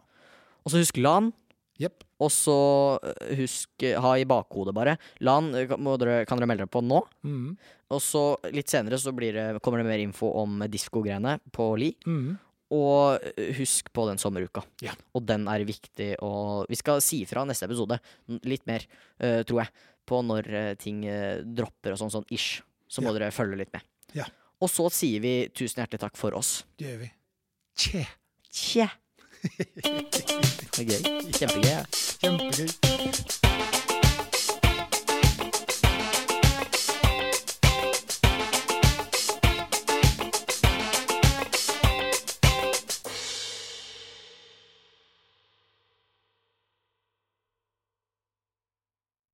Og så husk LAN. Jepp. Og så øh, husk øh, ha i bakhodet, bare. LAN øh, kan- må dere, kan dere melde dere på nå. Mhm. Og så litt senere så blir det, kommer det mer info om disko-greiene på Li. Mhm. Og eh, husk på den sommeruka. Ja. Og den er viktig å Vi skal si fra neste episode, n- litt mer, eh, tror jeg, på når eh, ting eh, dropper og sånn, sånn ish. Så må dere følge litt med. Ja. Og så sier vi tusen hjertelig takk for oss. Det gjør vi. Tje. *laughs* Tje! Det er gøy. Kjempegøy. ja. Kjempegøy.